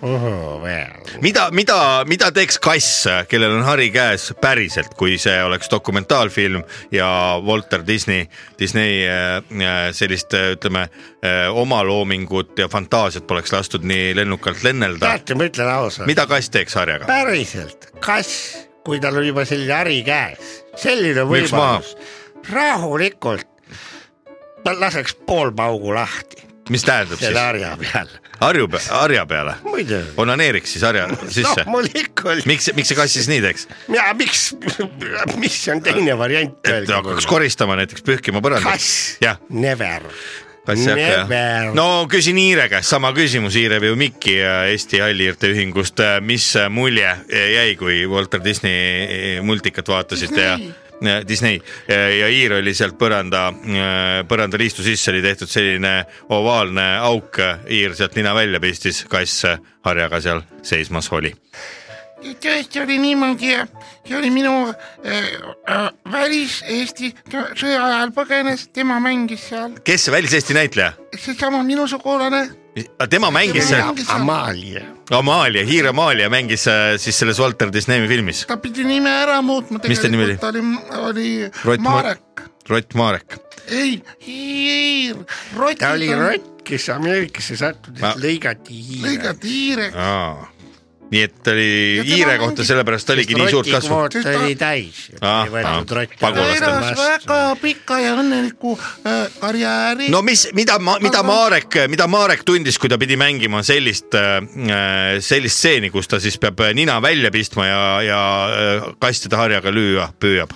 Speaker 2: kuhu veel .
Speaker 1: mida , mida , mida teeks kass , kellel on hari käes päriselt , kui see oleks dokumentaalfilm ja Walter Disney , Disney äh, äh, sellist äh, ütleme äh, omaloomingut ja fantaasiat poleks lastud nii lennukalt lennelda .
Speaker 2: teate , ma ütlen ausalt ,
Speaker 1: mida kass teeks harjaga ?
Speaker 2: päriselt , kas , kui tal on juba selline hari käes , selline
Speaker 1: Müüks maha.
Speaker 2: võimalus , rahulikult ta laseks pool paugu lahti
Speaker 1: mis tähendab
Speaker 2: selle
Speaker 1: siis ?
Speaker 2: harja peal ,
Speaker 1: harju , harja peale ?
Speaker 2: muidugi .
Speaker 1: onaneeriks siis harja
Speaker 2: Noh,
Speaker 1: sisse ?
Speaker 2: loomulikult ,
Speaker 1: miks , miks see kass siis nii teeks ?
Speaker 2: miks , mis on teine variant ?
Speaker 1: et hakkaks koristama näiteks , pühkima põrandat ?
Speaker 2: kass
Speaker 1: Jah. ,
Speaker 2: never .
Speaker 1: kass ei hakka jah ?
Speaker 2: Never.
Speaker 1: no küsin Hiire käest sama küsimus , Hiire ju Mikki ja Eesti Halliirte Ühingust , mis mulje jäi , kui Walter Disney multikat vaatasite ja Disney ja Hiir oli sealt põranda , põrandaliistu sisse oli tehtud selline ovaalne auk , Hiir sealt nina välja pistis , kass harjaga seal seismas oli .
Speaker 7: tõesti oli niimoodi ja see oli minu äh, äh, väliseesti sõ- sõja ajal põgenes , tema mängis seal ,
Speaker 1: kes see väliseesti näitleja ?
Speaker 7: seesama minu sugulane .
Speaker 1: tema mängis seal ,
Speaker 2: Amalia .
Speaker 1: Amalia , Hiir Amalia mängis äh, siis selles Walter Disney filmis
Speaker 7: ta pidi nime ära muutma .
Speaker 1: Mis ta nimi oli?
Speaker 7: ta oli , oli
Speaker 1: Rott Ma-
Speaker 7: Marek ,
Speaker 1: Rott Marek .
Speaker 7: ei , Hiir , Rott .
Speaker 2: ta oli rott , kes Ameerikasse sattus ,
Speaker 1: Ma-
Speaker 2: et lõigati hiire .
Speaker 7: lõigati hiireks ,
Speaker 1: nii et oli
Speaker 7: Ja tema
Speaker 1: Hiire kohta ,
Speaker 7: mängis-
Speaker 1: sellepärast oligi nii suurt kasvu .
Speaker 2: kvoot oli täis .
Speaker 1: Ah, ah,
Speaker 7: ta
Speaker 1: pagulaste
Speaker 7: elas väga pika ja õnneliku äh, karjääri
Speaker 1: no mis , mida , mida Marek , mida Marek tundis , kui ta pidi mängima sellist , sellist stseeni , kus ta siis peab nina välja pistma ja , ja äh, kastide harjaga lüüa püüab ?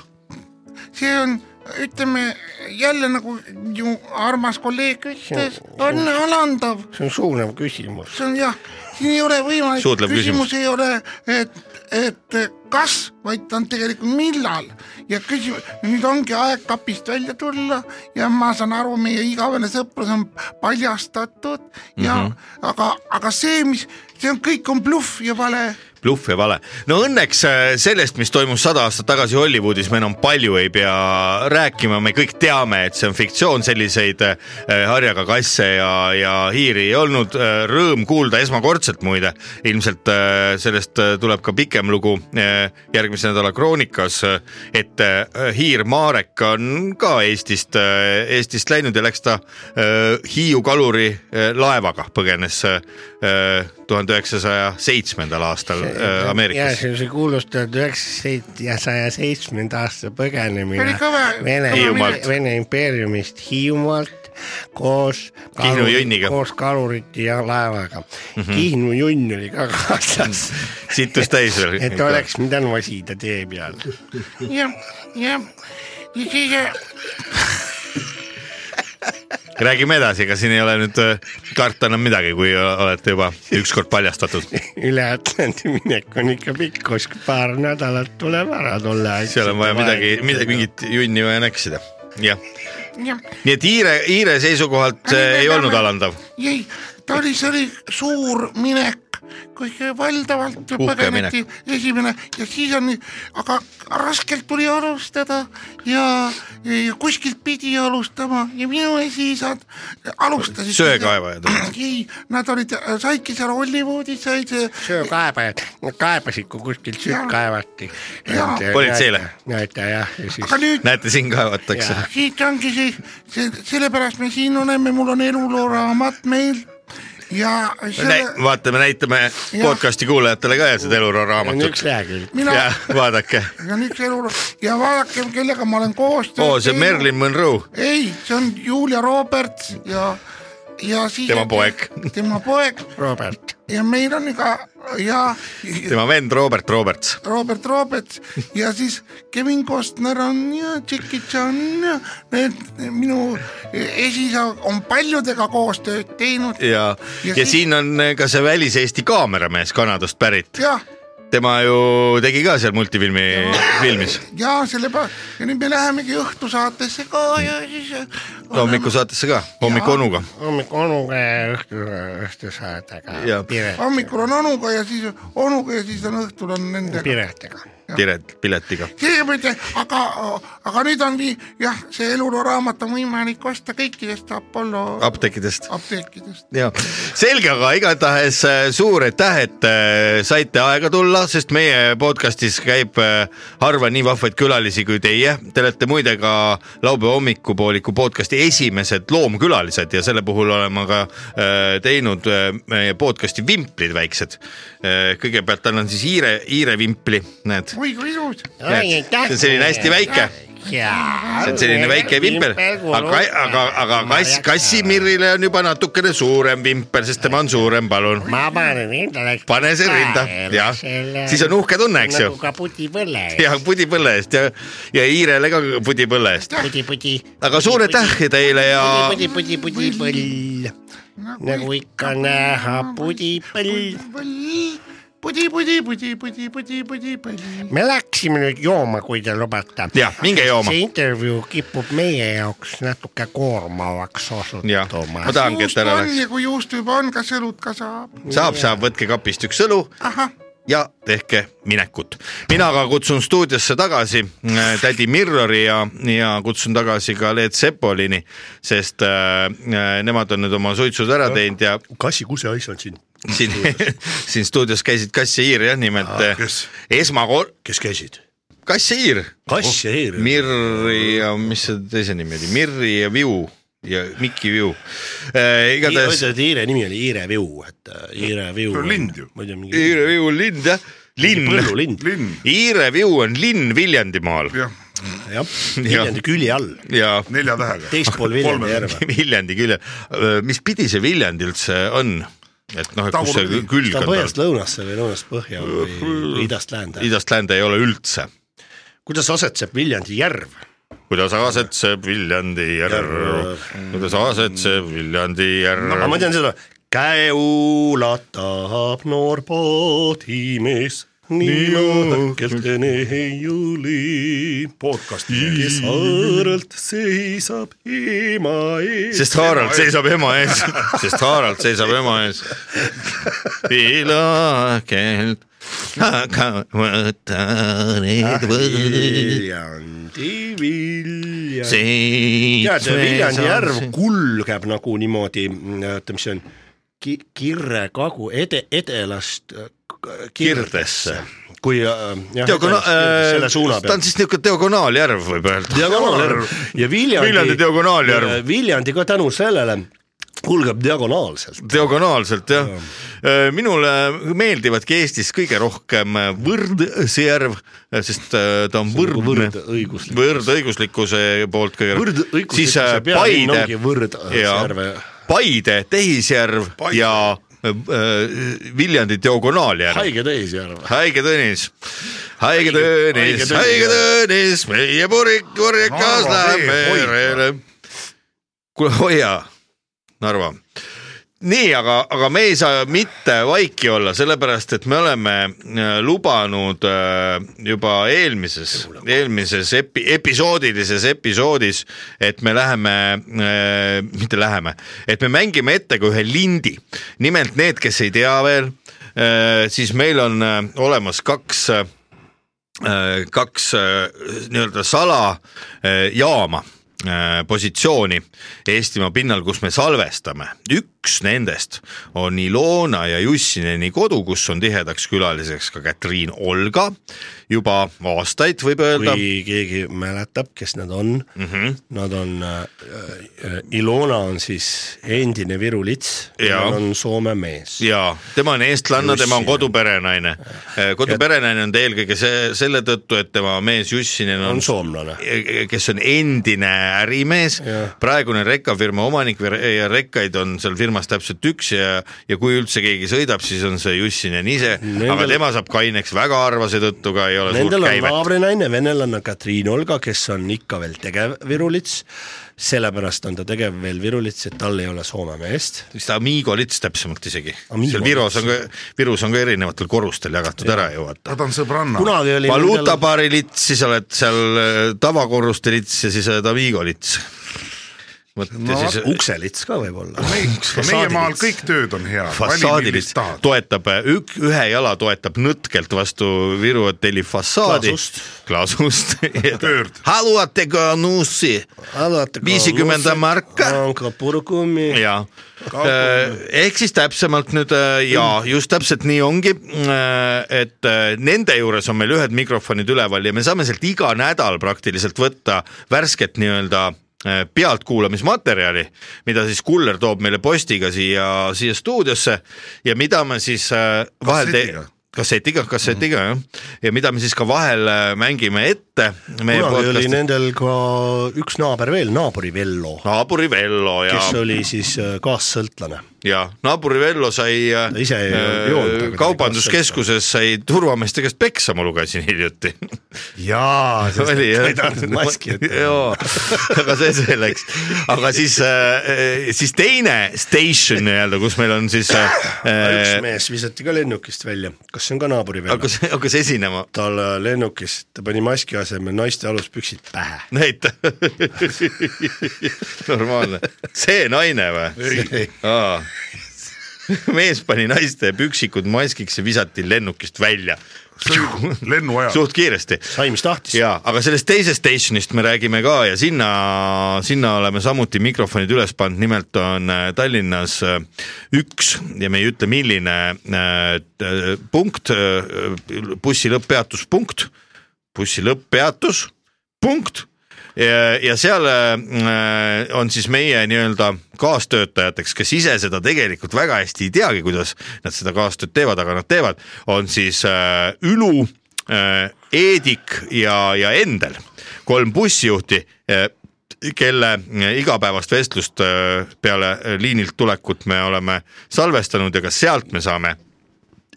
Speaker 7: see on , ütleme jälle nagu ju armas kolleeg ütles ,
Speaker 2: Oh,
Speaker 7: on alandav ,
Speaker 2: see on suunav küsimus .
Speaker 7: see on jah , siin ei ole võimalik ,
Speaker 1: Suudlev küsimus.
Speaker 7: küsimus ei ole , et , et kas , vaid ta on tegelikult millal ja küsimus , nüüd ongi aeg kapist välja tulla ja ma saan aru , meie igavene sõprus on paljastatud ja mm -hmm. aga , aga see , mis see on , kõik on bluff ja vale
Speaker 1: bluff ja vale . no õnneks äh, sellest , mis toimus sada aastat tagasi Hollywoodis , me enam palju ei pea rääkima , me kõik teame , et see on fiktsioon , selliseid äh, harjaga kasse ja , ja hiiri ei olnud . Rõõm kuulda esmakordselt muide , ilmselt äh, sellest äh, tuleb ka pikem lugu äh, järgmise nädala Kroonikas , et äh, hiir Marek on ka Eestist , Eestist läinud ja läks ta äh, Hiiu kaluri äh, laevaga , põgenes tuhande üheksasaja seitsmendal aastal äh,
Speaker 2: ja
Speaker 1: Ameerikas
Speaker 2: see . on see kuulus tuhat üheksasaja seitsmenda aasta põgenemine
Speaker 7: Oli kõva-
Speaker 2: Vene
Speaker 1: Hiiumaalt. ,
Speaker 2: Vene impeeriumist Hiiumaalt koos
Speaker 1: Kihnu junniga. Mhm.
Speaker 2: koos kalurite ja laevaga mm . -hmm. Kihnu junn oli ka kaasas ,
Speaker 1: situs täis veel .
Speaker 2: et oleks , mida nosida tee peal .
Speaker 7: ja , ja , ja siis äh,
Speaker 1: räägime edasi , ega siin ei ole nüüd äh, karta enam midagi , kui olete juba ükskord paljastatud .
Speaker 2: üle Atlandi minek on ikka pikk , kuskil paar nädalat tuleb ära tulla .
Speaker 1: seal on vaja midagi , midagi , mingit junni vaja näksida . jah ,
Speaker 7: ja
Speaker 1: nii et Hiire , Hiire seisukohalt see ei olnud alandav .
Speaker 7: ei , ta oli , see oli suur minek , kuigi valdavalt
Speaker 1: Uhke
Speaker 7: põgeneti esimene ja siis on , aga raskelt tuli alustada ja, ja kuskilt pidi alustama ja minu esiisad alustasid .
Speaker 1: Söekaevajad olid.
Speaker 7: ei , nad olid , saidki seal Hollywoodis , said
Speaker 2: söökaebajad , nad kaebasid , kui kuskilt
Speaker 7: Jaa.
Speaker 2: süüd kaevati .
Speaker 7: Jaa.
Speaker 1: Politseile.
Speaker 2: näete jah , ja siis
Speaker 7: aga nüüd
Speaker 1: näete , siin kaevatakse .
Speaker 2: Jaa.
Speaker 7: siit ongi see, see , sellepärast me siin oleme , mul on elulooraamat meil ja selle,
Speaker 1: Näi- , vaatame , näitame podcast'i kuulajatele ka seda Eluroo
Speaker 2: on
Speaker 1: raamatut
Speaker 2: üks lehekülg .
Speaker 7: mina
Speaker 1: ja vaadake ,
Speaker 7: see on üks elu ja vaadake , kellega ma olen koostööd
Speaker 1: oo , see on Merlin Monroe ,
Speaker 7: ei , see on Julia Roberts ja , ja siis
Speaker 1: Tema poeg.
Speaker 7: tema poeg
Speaker 2: Robert ,
Speaker 7: ja meil on ka ja
Speaker 1: tema vend Robert Roberts .
Speaker 7: Robert Roberts ja siis Kevin Costner on ja Jackie Chan ja need minu esiisa on paljudega koostööd teinud
Speaker 1: ja , ja
Speaker 7: Ja siis-
Speaker 1: siin on ka see väliseesti kaameramees Kanadast pärit ,
Speaker 7: jah ,
Speaker 1: tema ju tegi ka seal multifilmi , filmis ,
Speaker 7: ja sellepärast ja nüüd me lähemegi õhtusaatesse ka ja siis
Speaker 1: hommikusaatesse ka , hommikuonuga .
Speaker 2: hommikul onuga ja õhtul , õhtusaatega
Speaker 1: Jaa. ,
Speaker 2: Piret ,
Speaker 7: hommikul on onuga ja siis onuga ja siis on õhtul on nendega
Speaker 2: Piretiga .
Speaker 1: Piret , Piletiga .
Speaker 7: kõigepealt , aga , aga nüüd on nii , jah , see eluloo raamat on võimalik osta kõikidest Apollo
Speaker 1: apteekidest .
Speaker 7: apteekidest .
Speaker 1: ja selge , aga igatahes äh, suur aitäh , et äh, saite aega tulla , sest meie podcastis käib äh, harva nii vahvaid külalisi kui teie . Te olete muide ka laupäeva hommikupooliku podcasti esimesed loomkülalised ja selle puhul olen ma ka äh, teinud äh, meie podcasti vimplid väiksed . kõigepealt annan siis hiire , hiire vimpli , näed .
Speaker 7: oi kui ilus ,
Speaker 1: see on selline hästi väike ,
Speaker 2: jaa .
Speaker 1: see on selline väike vimpel , aga , aga , aga kass , Kassimirile on juba natukene suurem vimpel , sest tema on suurem , palun .
Speaker 2: ma panen endale .
Speaker 1: pane see rinda , jah , siis on uhke tunne , eks ju
Speaker 2: nagu . ka putipõlle .
Speaker 1: ja pudipõlle eest ja , ja hiirele ka pudipõlle eest .
Speaker 2: puti-puti .
Speaker 1: aga suur aitäh teile ja
Speaker 2: puti-puti-puti-põll , nagu ikka näha , putipõll .
Speaker 7: pudi , pudi , pudi , pudi , pudi , pudi , pudi , pudi .
Speaker 2: me läksime nüüd jooma , kui te lubate .
Speaker 1: Jah, minge jooma.
Speaker 2: see intervjuu kipub meie jaoks natuke koormavaks
Speaker 1: ja
Speaker 2: osutuma
Speaker 1: ma . tahangi , et
Speaker 7: juustu
Speaker 1: ära
Speaker 7: on
Speaker 1: läheks .
Speaker 7: ja kui juustu juba on , kas õlut ka saab ?
Speaker 1: saab , saab , võtke kapist üks õlu
Speaker 7: ahah ,
Speaker 1: ja tehke minekut . mina aga kutsun stuudiosse tagasi äh, tädi Mirrori ja , ja kutsun tagasi ka Leet Sepolini , sest äh, äh, nemad on nüüd oma suitsud ära teinud ja
Speaker 2: kassi kuse hais on siin ,
Speaker 1: siin , siin stuudios käisid Kass ja Iir jah , nimelt äh,
Speaker 3: kes?
Speaker 1: esmakor- ,
Speaker 2: kes käisid ?
Speaker 1: Kass ja Iir ,
Speaker 2: kass ja eer .
Speaker 1: Mirri ja mis see teise nimi oli , Mirri ja Viu ja Miki Viu äh, , igatahes
Speaker 2: oota , Iire nimi oli Iire Viu , et äh, Iire Viu .
Speaker 3: Lind ju.
Speaker 2: ma ei tea , mingi
Speaker 1: Iire Viu on lind jah , linn .
Speaker 2: põllulind ,
Speaker 3: linn ,
Speaker 1: Iire Viu on linn Viljandimaal
Speaker 3: jah ,
Speaker 2: jah , Viljandi külje all ,
Speaker 1: ja
Speaker 3: nelja tähega .
Speaker 2: teispool Viljandi
Speaker 3: Kolme.
Speaker 2: järve .
Speaker 1: Viljandi külje , mis pidi see Viljandi üldse on ? et noh , et kus see
Speaker 3: Tagurpidi.
Speaker 1: külg
Speaker 2: ta
Speaker 1: on
Speaker 2: põhjast
Speaker 1: tal ,
Speaker 2: lõunasse või lõunast põhja või või idast läände .
Speaker 1: idast läände ei ole üldse .
Speaker 2: kuidas asetseb Viljandi järv ?
Speaker 1: kuidas asetseb Viljandi järv , kuidas asetseb Viljandi
Speaker 2: aga ma
Speaker 1: järv ,
Speaker 2: tean seda , käulatab noor poodimees , nii õhkesene heiuli ,
Speaker 3: podcast'i
Speaker 2: kes haaralt seisab ema ees .
Speaker 1: sest Haarald seisab ema ees , sest Haarald seisab ema ees . pilakelt aga võta need võõrad ,
Speaker 2: Viljandi , Viljandi . tead ,
Speaker 1: seitsme
Speaker 2: Viljandi järv
Speaker 1: saab-
Speaker 2: kulgeb nagu niimoodi , oota , mis see on , ki- , kirre kagu , ede , edelast äh, k-
Speaker 1: Kirdesse. .
Speaker 2: kui äh, jah ,
Speaker 1: diagonaal ,
Speaker 2: selle suuna
Speaker 1: ta on
Speaker 2: peal .
Speaker 1: siis niisugune diagonaaljärv võib öelda .
Speaker 2: diagonaaljärv ja Viljandi .
Speaker 1: Viljandi diagonaaljärv. .
Speaker 2: Äh, Viljandi ka tänu sellele kulgeb diagonaalselt .
Speaker 1: diagonaalselt jah , minule meeldivadki Eestis kõige rohkem Võrdsjärv , sest äh, ta on võrdne ,
Speaker 2: võrdõiguslik-
Speaker 1: võrdõiguslikkuse poolt kõige siis
Speaker 2: võrdõiguslikkuse
Speaker 1: äh,
Speaker 2: pealinn ongi
Speaker 1: Paide ,
Speaker 2: Võrdjärve .
Speaker 1: Paide , Tehisjärv Paide. ja äh, Viljandi diagonaaljärv .
Speaker 2: haige Tehisjärv .
Speaker 1: haige Tõnis , haige Tõnis ,
Speaker 2: Haige Tõnis.
Speaker 1: haige Tõnis , meie purik , purjekas
Speaker 3: Narva
Speaker 1: läheb
Speaker 3: vee,
Speaker 1: merele . kuule hoia , Narva . nii , aga , aga me ei saa mitte vaiki olla , sellepärast et me oleme äh, lubanud äh, juba eelmises , eelmises epi- , episoodilises episoodis , et me läheme , mitte läheme , et me mängime ette ka ühe lindi . nimelt need , kes ei tea veel Äh, siis meil on äh, olemas kaks , äh, kaks äh, nii-öelda salajaama äh, positsiooni Eestimaa pinnal , kus me salvestame . üks nendest on Ilona ja Jussineni kodu , kus on tihedaks külaliseks ka Katriin Olga juba aastaid , võib öelda .
Speaker 2: kui keegi mäletab , kes nad on mm ,
Speaker 1: Mhm.
Speaker 2: -hmm. nad on äh, , äh, Ilona on siis endine Viru lits ,
Speaker 1: Jaa.
Speaker 2: tal on Soome mees .
Speaker 1: jaa , tema on eestlanna , tema on
Speaker 2: Jussinen.
Speaker 1: koduperenaine . koduperenaine on ta eelkõige see , selle tõttu , et tema mees Jussinen on,
Speaker 2: on soomlane .
Speaker 1: e, kes on endine ärimees
Speaker 2: Jah. ,
Speaker 1: praegune rekkafirma omanik ve- ja rekkaid on seal firmas täpselt üks ja , ja kui üldse keegi sõidab , siis on see Jussinen ise , aga
Speaker 2: Nendel-
Speaker 1: tema saab kaineks väga harva , seetõttu ka ei ole
Speaker 2: Nendel
Speaker 1: suurt
Speaker 2: on
Speaker 1: käivet .
Speaker 2: naabrinaine , venelanna Katriin Olga , kes on ikka veel tegev Viru lits , sellepärast on ta tegev veel Viru lits , et tal ei ole Soome meest .
Speaker 1: vist Amigo lits täpsemalt isegi ,
Speaker 2: Amigo
Speaker 1: seal Virus on ka , Virus on ka erinevatel korrustel jagatud ära ju vaata .
Speaker 3: ta on sõbranna ,
Speaker 2: kunagi oli nendel ,
Speaker 1: valuutapaari lits , siis oled seal äh, tavakorruste lits ja siis oled Amigo lits . vot ja
Speaker 3: No
Speaker 1: siis
Speaker 2: ukselits ka võib-olla .
Speaker 3: meie maal kõik tööd on head , vali millist
Speaker 1: fassaadilist
Speaker 3: tahad .
Speaker 1: toetab , ük- , ühe jala toetab nõtkelt vastu Viru hotelli fassaadi .
Speaker 2: Klaasust.
Speaker 1: klaasust .
Speaker 3: Pöörd.
Speaker 1: haluate ka nuussi ? Viisikümmend marka.
Speaker 2: on ka purgumi .
Speaker 1: ja , Äh, ehk siis täpsemalt nüüd äh, ja just täpselt nii ongi , et äh, nende juures on meil ühed mikrofonid üleval ja me saame sealt iga nädal praktiliselt võtta värsket nii-öelda äh, pealtkuulamismaterjali , mida siis kuller toob meile postiga siia , siia stuudiosse ja mida me siis äh, vahel
Speaker 3: Kassetiga.
Speaker 1: teeme kassetiga , kassetiga
Speaker 2: Mhm.
Speaker 1: jah , ja mida me siis ka vahel äh, mängime ette .
Speaker 2: kunagi oli nendel ka üks naaber veel , naabri Vello ,
Speaker 1: naabri Vello ja .
Speaker 2: kes oli siis äh, kaassõltlane .
Speaker 1: ja naabri Vello sai äh,
Speaker 2: Ta ise ei joonud, aga ta oli
Speaker 1: kaubanduskeskuses sai turvameeste käest peksa , ma lugesin hiljuti .
Speaker 2: jaa , sest
Speaker 1: oli
Speaker 2: ta
Speaker 1: jah
Speaker 2: ei tahtnud maski ette .
Speaker 1: jaa , aga see selleks , aga siis , siis teine station nii-öelda , kus meil on siis . äh,
Speaker 2: üks
Speaker 1: hakkas ,
Speaker 2: mees visati ka lennukist välja , kas see on ka naabri Vello ?
Speaker 1: hakkas esinema ,
Speaker 2: tal äh, lennukis , ta pani maski asemel naiste aluspüksid pähe .
Speaker 1: näita . normaalne , see naine või ? mees pani naiste püksikud maskiks ja visati lennukist välja
Speaker 3: lennu ajal ,
Speaker 1: suht kiiresti
Speaker 9: sai , mis tahtis .
Speaker 1: ja , aga sellest teisest station'ist me räägime ka ja sinna , sinna oleme samuti mikrofonid üles pannud , nimelt on äh, Tallinnas äh, üks ja me ei ütle , milline äh, t- äh, punkt , bussi lõpp-peatus punkt , bussi lõpp-peatus punkt ja, ja seal äh, on siis meie nii-öelda kaastöötajateks , kes ise seda tegelikult väga hästi ei teagi , kuidas nad seda kaastööd teevad , aga nad teevad , on siis äh, Ülu äh, , Eedik ja , ja Endel , kolm bussijuhti äh, kelle äh, igapäevast vestlust äh, peale liinilt tulekut me oleme salvestanud ja ka sealt me saame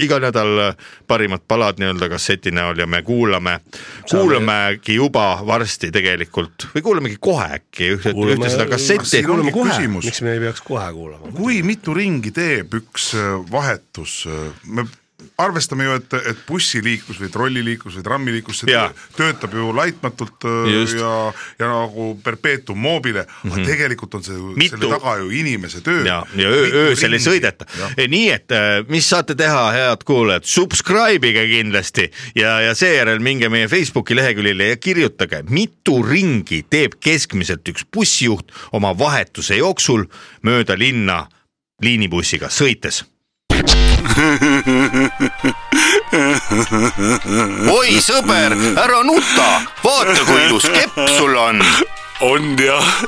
Speaker 1: iga nädal äh, parimad palad nii-öelda kasseti näol ja me kuulame , kuulamegi juba varsti tegelikult või kuulamegi kohe äkki ühte ,
Speaker 9: Kuulame-
Speaker 1: ühte seda kassetti
Speaker 3: Siin ongi
Speaker 9: kuulame kohe ,
Speaker 3: küsimus.
Speaker 9: miks me ei peaks kohe kuulama ?
Speaker 3: kui mitu ringi teeb üks äh, vahetus , me arvestame ju , et , et bussiliiklus või trolliliiklus või trammiliiklus , see
Speaker 1: Jaa.
Speaker 3: tö- töötab ju laitmatult äh,
Speaker 1: Just. Mhm.
Speaker 3: ja , ja nagu perpetuum mobile , aga mm -hmm. tegelikult on see
Speaker 1: Mitu-
Speaker 3: mitu... selle taga ju inimese töö .
Speaker 1: ja , ja öö , öösel ei sõideta . nii et äh, mis saate teha , head kuulajad , subscribe ige kindlasti ja , ja seejärel minge meie Facebooki leheküljele ja kirjutage , mitu ringi teeb keskmiselt üks bussijuht oma vahetuse jooksul mööda linna liinibussiga sõites .
Speaker 10: oi sõber , ära nuta , vaata kui ilus kepp sul on .
Speaker 11: on jah ,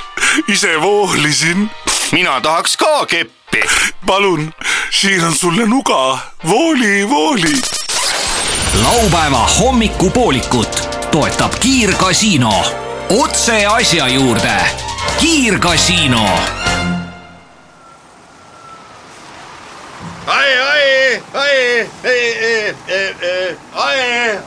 Speaker 11: ise voolisin .
Speaker 10: mina tahaks ka keppi .
Speaker 11: palun , siin on sulle nuga , vooli , vooli .
Speaker 6: laupäeva hommikupoolikut toetab Kiirgasiino . otse asja juurde . kiirgasiino .
Speaker 1: ai , ai , ai , ai ,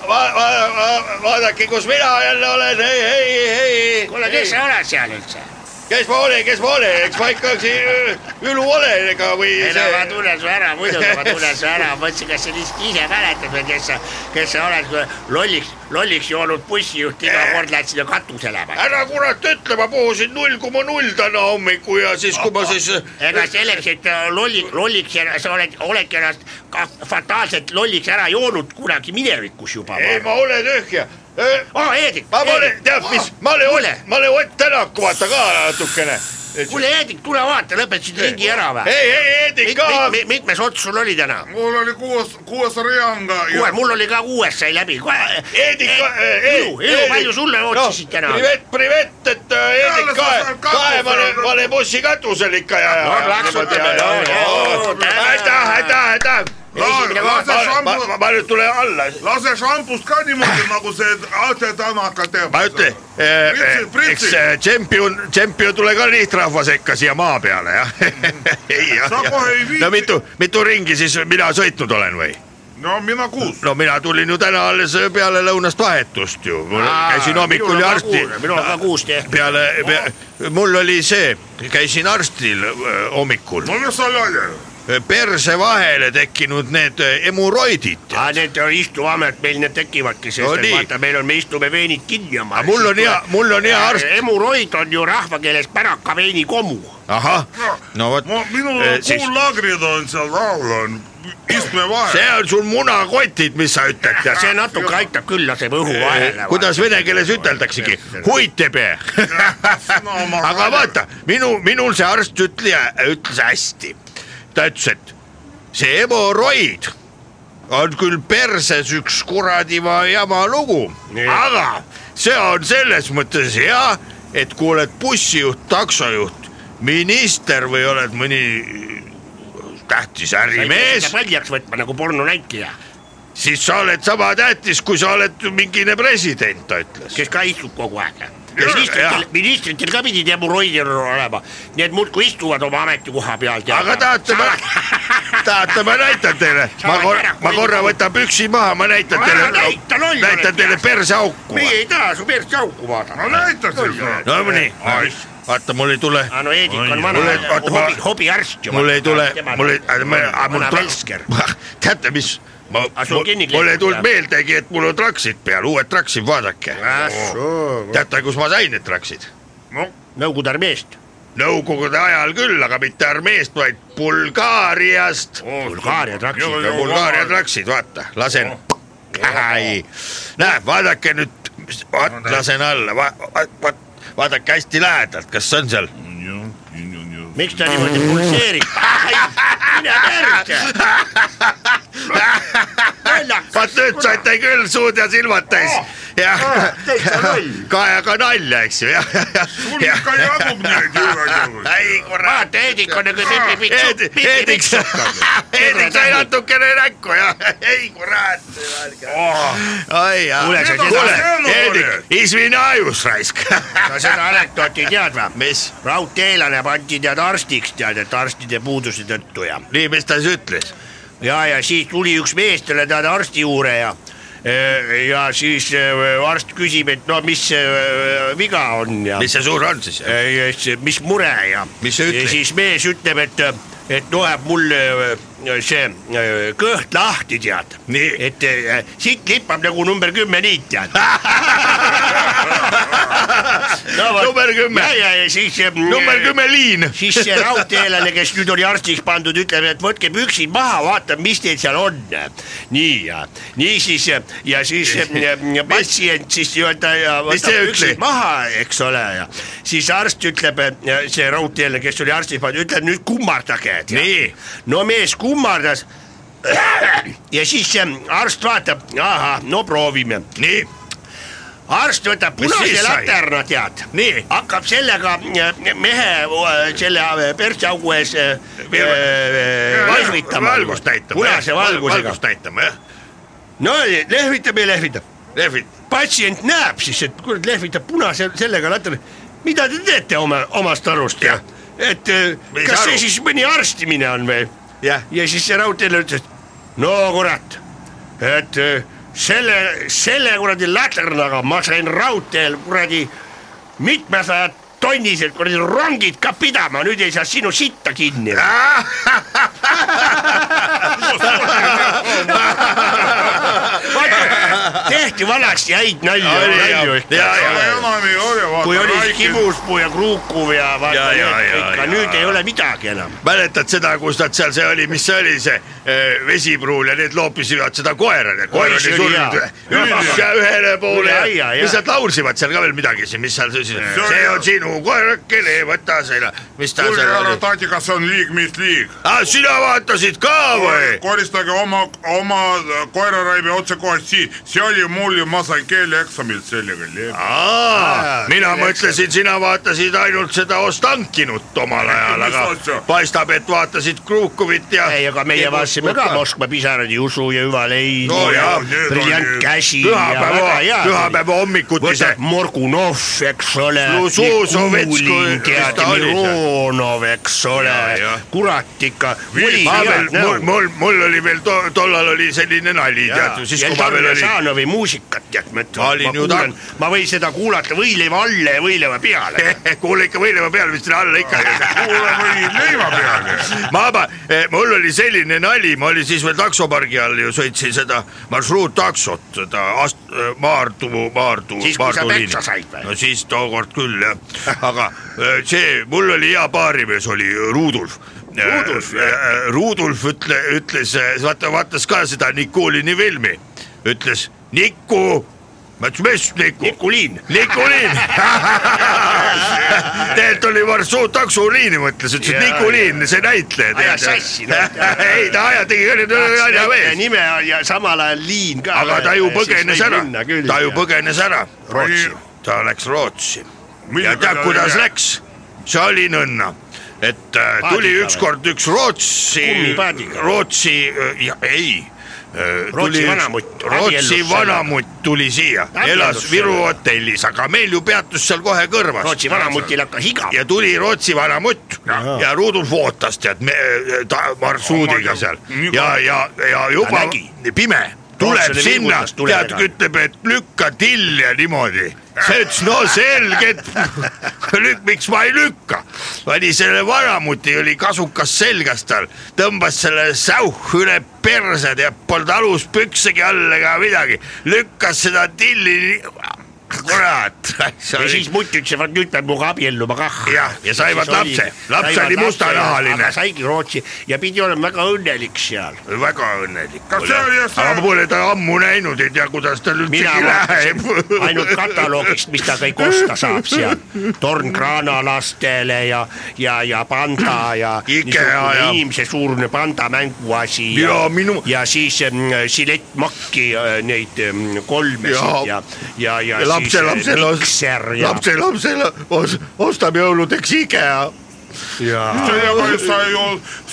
Speaker 1: vaadake , kus mina jälle olen , ei , ei , ei .
Speaker 2: kuule , kes sa oled seal üldse ?
Speaker 1: kes ma olen , kes ma olen , eks ma ikka siin äh, Ülu olen ega või
Speaker 2: ei no ma tunnen su ära , muidugi ma tunnen su ära , mõtlesin , kas sa lihtsalt ise mäletad või kes sa , kes sa oled , kui lolliks , lolliks joonud bussijuht iga kord lähed sinna katusele või ?
Speaker 1: ära kurat ütle , ma puhusin null koma null täna hommikul ja siis , kui ma siis . äh,
Speaker 2: ega selleks , et äh, lolli , lolliks ja sa oled , oledki ennast ka fataalselt lolliks ära joonud kunagi minevikus juba . Ah,
Speaker 1: ei , ma olen tühja .
Speaker 2: aa , Heedik .
Speaker 1: ma olen , tead mis , ma olen Ott , ma olen Ott Tänaku , vaata ka natukene .
Speaker 2: kuule , Heedik , tule vaata , lõpetasid ringi ära või ?
Speaker 1: ei , ei , Heidik ka .
Speaker 2: mitmes ots sul oli täna ?
Speaker 3: mul oli kuues , kuues reanga
Speaker 2: kuule , mul oli ka kuues sai läbi .
Speaker 1: Heidik ka , eh, ei .
Speaker 2: Ilu , Ilu , palju sulle otsisid täna ?
Speaker 1: Noh, privet , privet , et äh, Heidik
Speaker 3: Jälle sa
Speaker 1: kae
Speaker 3: seal , katusel
Speaker 1: kae , ma olen ,
Speaker 3: oled.
Speaker 1: ma olen bussikatusel ikka ja .
Speaker 2: No plaksu ütleme, no, no, tänan.
Speaker 1: aitäh , aitäh , aitäh .
Speaker 2: Esimene kord.
Speaker 1: ma , ma , ma nüüd tulen alla .
Speaker 3: lase šampust ka niimoodi , nagu see Aate Tanaka teeb .
Speaker 1: ma ütlen ,
Speaker 3: Pritsi- pritsi.
Speaker 1: eks äh, tšempion , tšempion tule ka lihtrahva sekka siia maa peale jah Ei, jah,
Speaker 3: Sa
Speaker 1: jah.
Speaker 3: kohe ei viitsi.
Speaker 1: no mitu , mitu ringi siis mina sõitnud olen või ?
Speaker 3: no mina kuus .
Speaker 1: no mina tulin ju täna alles eh, peale lõunast vahetust ju ,
Speaker 12: Ah,
Speaker 1: käisin hommikul ja arsti .
Speaker 2: minul on ka kuus tehtud .
Speaker 1: peale pe, , mul oli see , käisin arstil öö, hommikul ,
Speaker 3: no mis seal oli ?
Speaker 1: perse vahele tekkinud need öö, emuroidid .
Speaker 2: aga Ah, need istuvamed meil need
Speaker 1: No
Speaker 2: tekivadki , sest et
Speaker 1: nii.
Speaker 2: vaata , meil on , me istume veenid kinni oma .
Speaker 1: Aga mul on hea- mul on hea arst-
Speaker 2: Äh, Eh, emuroid on ju rahvakeeles pärakaveini komu .
Speaker 1: ahah , no vot
Speaker 3: ma , minul
Speaker 1: Eh,
Speaker 3: on
Speaker 1: siis-
Speaker 3: kuullaagrid on seal all on , istume vahel .
Speaker 1: see on sul munakotid , mis sa ütled ja
Speaker 2: see
Speaker 1: see ,
Speaker 2: natuke aitab küll , laseb õhu vahele .
Speaker 1: Äh, kuidas vene keeles üteldaksegi , huitepea . aga vaata , minu , minul see arst ütleja ütles hästi , ta ütles , et see emoroid on küll perses üks kuradi va- jama lugu , aga see on selles mõttes hea , et kui oled bussijuht , taksojuht , minister või oled mõni tähtis ärimees ,
Speaker 2: paljaks võtma nagu pornonäitleja ,
Speaker 1: siis sa oled sama tähtis , kui sa oled mingine president , ta ütles .
Speaker 2: kes ka istub kogu aeg .
Speaker 1: Jah,
Speaker 2: ministritel
Speaker 1: jah. ,
Speaker 2: ministritel ka pidid emuroidil olema , nii et muudkui istuvad oma ametikoha peal .
Speaker 1: aga tahate , ma , tahate , ma näitan teile , ma korra , ma korra võtan püksi maha , ma näitan
Speaker 2: Ära
Speaker 1: teile
Speaker 2: näita, , loll
Speaker 1: näitan
Speaker 2: oled,
Speaker 1: teile
Speaker 2: jah.
Speaker 1: perseauku .
Speaker 2: meie ei taha su pealt jauku vaadata .
Speaker 3: no näita siis .
Speaker 1: no nii , vaata mul ei tule ,
Speaker 2: aga no Eedik on vana
Speaker 1: Mul ei- vaata, ma-
Speaker 2: hobi , hobiarst ju .
Speaker 1: mul ei tule , äh, mul ei , mul
Speaker 2: vana
Speaker 1: tule-
Speaker 2: Velsker .
Speaker 1: teate , mis , ma
Speaker 2: Aga sul , kinni
Speaker 1: mul ei
Speaker 2: kleebitud,
Speaker 1: tulnud
Speaker 2: jah?
Speaker 1: meeldegi , et mul on traksid peal , uued traksid , vaadake . teate , kus ma sain need traksid ?
Speaker 2: Nõukogude armeest .
Speaker 1: Nõukogude ajal küll , aga mitte armeest , vaid Bulgaariast .
Speaker 2: Oh.
Speaker 13: Bulgaaria traksid
Speaker 1: ja Bulgaaria traksid , vaata , lasen . ai , näed , vaadake nüüd , vaat lasen alla va, , va, va, vaadake hästi lähedalt , kas on seal .
Speaker 2: miks ta niimoodi pulseerib ? mine
Speaker 1: nagu
Speaker 2: tervita .
Speaker 1: vaat nüüd saite küll suud ja silmad täis . jah ,
Speaker 2: täitsa loll .
Speaker 1: kajaga nalja , eks ju , jah , jah , jah .
Speaker 3: ikka jagub neid üle .
Speaker 1: ei kurat ,
Speaker 2: vaata , Heidik on nagu
Speaker 1: Heedik , Heedik
Speaker 2: pipi-pipi .
Speaker 1: sai , Heedik sai natukene näkku jah , ei kurat . ai jah ,
Speaker 2: Kuule, sa tead-
Speaker 1: kuule
Speaker 3: Jaa, , no,
Speaker 1: Heedik , ismine ajus raisk .
Speaker 2: sa seda anekdooti tead või ?
Speaker 1: mis ,
Speaker 2: raudteelane pandi tead arstiks tead , et arstide puuduse tõttu ja ,
Speaker 1: nii , mis ta siis ütles ?
Speaker 2: ja , ja siis tuli üks mees talle tead arsti juurde ja eh, ja siis eh, arst küsib , et no mis eh, viga on ja
Speaker 1: mis see suur on siis ?
Speaker 2: Eh, ja siis, mis mure ja .
Speaker 1: Mis sa ütled?
Speaker 2: ja siis mees ütleb , et , et loeb mul eh, see eh, kõht lahti tead ,
Speaker 1: Nii.
Speaker 2: et eh, siit lipab nagu number kümme niit tead .
Speaker 1: number kümme ,
Speaker 2: ja , ja , ja siis . äh,
Speaker 1: number . kümme liin .
Speaker 2: siis see raudteelane , kes nüüd oli arstiks pandud , ütleb , et võtke püksid maha , vaatame , mis teil seal on . nii ja , niisiis ja- ja siis ja- ja patsient siis nii-öelda ja
Speaker 1: Mis see
Speaker 2: võtab
Speaker 1: ütles?
Speaker 2: püksid maha , eks ole , ja siis arst ütleb , see raudteelane , kes oli arstiks pandud , ütleb nüüd kummardage .
Speaker 1: Nii.
Speaker 2: no mees kummardas ja siis see arst vaatab , ahah , no proovime
Speaker 1: nii ,
Speaker 2: arst võtab
Speaker 1: Mis
Speaker 2: punase
Speaker 1: siis sai?
Speaker 2: laterna , tead .
Speaker 1: Nii.
Speaker 2: hakkab sellega äh, mehe äh, selle äh, perseaugu ees äh, äh, valgutama .
Speaker 1: valgust näitama .
Speaker 2: punase valgusega .
Speaker 1: valgust näitama jah ,
Speaker 2: no lehvitab ja lehvitab .
Speaker 1: lehvid .
Speaker 2: patsient näeb siis , et kurat lehvitab punase sellega laterna . mida te teete oma , omast arust ja et äh,
Speaker 1: Me ei saa
Speaker 2: kas
Speaker 1: aru.
Speaker 2: see siis mõni arstimine on või ?
Speaker 1: jah ,
Speaker 2: ja siis see raudteele ütles , et no kurat , et eh, selle , selle kuradi laternaga ma sain raudteel kuradi mitmesajad tonnised kuradi rongid ka pidama , nüüd ei saa sinu sitta kinni . tehti vanasti häid nalju ,
Speaker 1: Oli ja- ja-
Speaker 2: nalju
Speaker 1: ja-
Speaker 2: ikka .
Speaker 3: enam ei ole ,
Speaker 2: kui
Speaker 3: vaata
Speaker 2: oli . Kibuspuu ja Kruukuv ja vaata
Speaker 1: Ja- ja-
Speaker 2: need
Speaker 1: ja-
Speaker 2: ikka ,
Speaker 1: ja-
Speaker 2: nüüd ei ole midagi enam .
Speaker 1: mäletad seda , kus nad seal , see oli , mis see oli , see eh, vesipruul ja need loopisivad seda koera , koer
Speaker 2: Oi, see
Speaker 1: oli
Speaker 2: oli
Speaker 1: surnud
Speaker 2: hea.
Speaker 1: üks ja ühele poole
Speaker 2: Üle aia,
Speaker 1: ja
Speaker 2: jah.
Speaker 1: mis nad laulsivad seal ka veel midagi siin , mis seal siis ,
Speaker 3: oli
Speaker 1: see
Speaker 3: hea.
Speaker 1: on sinu koerakene , võta selle , mis ta
Speaker 3: kuulge
Speaker 1: seal
Speaker 3: härra
Speaker 1: oli .
Speaker 3: Tadi , kas see on liig , mis liig ?
Speaker 1: Ah, sina vaatasid ka või ?
Speaker 3: koristage oma , oma koeraraive otsekohast siit , see oli mul ju , ma sain keeleeksamilt sellega .
Speaker 1: Aa, mina mõtlesin , sina vaatasid ainult seda Ostankinut omal ajal ,
Speaker 3: Mis
Speaker 1: aga
Speaker 3: asja?
Speaker 1: paistab , et vaatasid Kruukovit ja .
Speaker 2: ei , aga meie vaatasime ka . Moskva pisarad , Jusu ja Hüvalein
Speaker 1: No jaa,
Speaker 2: ja
Speaker 3: need
Speaker 2: briljant
Speaker 3: oli-
Speaker 2: käsi ja
Speaker 1: pühapäeva
Speaker 2: väga , hea .
Speaker 1: pühapäeva hommikuti see
Speaker 2: võtab Morgunov , eks ole .
Speaker 1: Luzuzovets, kui- mis
Speaker 2: tead
Speaker 1: ta , oli seal?
Speaker 2: Mironov , eks ole
Speaker 1: Jaa, jah. ,
Speaker 2: kurat ikka .
Speaker 1: ma veel , mul , mul , mul oli veel to, tollal oli selline nali , tead ju , siis kui ma veel olin .
Speaker 2: Sanovi muusikat tead , ma
Speaker 1: Ma olin
Speaker 2: ütlen , ma
Speaker 1: ju
Speaker 2: kuulan
Speaker 1: tark. ,
Speaker 2: ma võin seda kuulata võileiva alla ja võileiva peale .
Speaker 1: kuule ikka võileiva peale , mis sinna alla ikka
Speaker 3: kuule või leiva peale .
Speaker 1: ma , ma , mul oli selline nali , ma olin siis veel taksopargi all ju sõitsin seda marsruuttaksot , seda ast- , Maardu , Maardu .
Speaker 2: Siis, kui sa peksa said või?
Speaker 1: no siis tookord küll jah , aga eh, see , mul oli hea baarimees oli Rudolf . Rudolf , Rudolf ütle , ütles , vaata , vaatas ka seda Nikulini filmi , ütles Niku , ma ütlesin , mis Niku ?
Speaker 2: Nikulin ,
Speaker 1: Nikuliin tegelikult oli Varsuu taksoliini mõtles , ütles , et
Speaker 2: Jaa,
Speaker 1: Nikuliin , see näitleja .
Speaker 2: Ajas sassi, näitleja.
Speaker 1: ei , ta aja tegi ka nüüd nalja mees ,
Speaker 2: nime on ja samal ajal liin ka .
Speaker 1: aga ta ju põgenes ära , ta ju põgenes ära .
Speaker 3: Rootsi.
Speaker 1: ta läks Rootsi ja tead , kuidas ? läks , see oli nõnna , et äh, tuli
Speaker 2: Paadiga
Speaker 1: ükskord üks Rootsi
Speaker 2: Kummipaadiga. ,
Speaker 1: Rootsi , ei .
Speaker 2: Rootsi vanamutt,
Speaker 1: Rootsi
Speaker 2: abiellus
Speaker 1: vanamutt tuli siia ,
Speaker 2: Abiellus
Speaker 1: elas Viru
Speaker 2: sellega.
Speaker 1: hotellis , aga meil ju peatus seal kohe kõrvas .
Speaker 2: Rootsi vanamutil hakkas iga .
Speaker 1: ja tuli Rootsi vanamutt ja Rudolf ootas tead me, eh, ta marsruudiga seal ja , ja , ja juba
Speaker 2: Ta nägi.
Speaker 1: pime tuleb
Speaker 2: Rootsile
Speaker 1: sinna
Speaker 2: vilgutas , tulega.
Speaker 1: tead , ütleb , et lükka tilja niimoodi . see ütles , no selge , et lükk , miks ma ei lükka . pani selle vanamuti , oli kasukas selgas tal , tõmbas selle säuh üle perse , tead , polnud aluspüksegi all ega midagi , lükkas seda tilli nii-
Speaker 12: kurat .
Speaker 3: Sa
Speaker 12: ja
Speaker 3: olid-
Speaker 12: siis mutt ütles , et nüüd peab minuga abielluma kah .
Speaker 3: Jah, ja saivad lapse. Laps oli mustanahaline.
Speaker 12: saigi Rootsi ja pidi olema väga õnnelik seal .
Speaker 3: väga õnnelik . kas
Speaker 12: see oli
Speaker 3: just aga ma pole teda ammu näinud , ei tea , kuidas tal
Speaker 12: mina
Speaker 3: üldsegi
Speaker 12: vaatasin
Speaker 3: läheb .
Speaker 12: ainult kataloogist , mis ta kõik osta saab seal . tornkraana lastele ja , ja , ja panda ja .
Speaker 3: Ikea ja-
Speaker 12: inimese suurune panda mänguasi .
Speaker 3: Jaa, minu-
Speaker 12: ja siis mm, silettmakki äh, neid mm, kolmesid
Speaker 3: Jaa.
Speaker 12: ja , ja , ja .
Speaker 3: lapselapsel os-
Speaker 12: mikser , ja ,
Speaker 3: lapselapsel os- , ostab jõuludeks IKEA .
Speaker 12: ja .
Speaker 3: sellega
Speaker 5: sa ju ,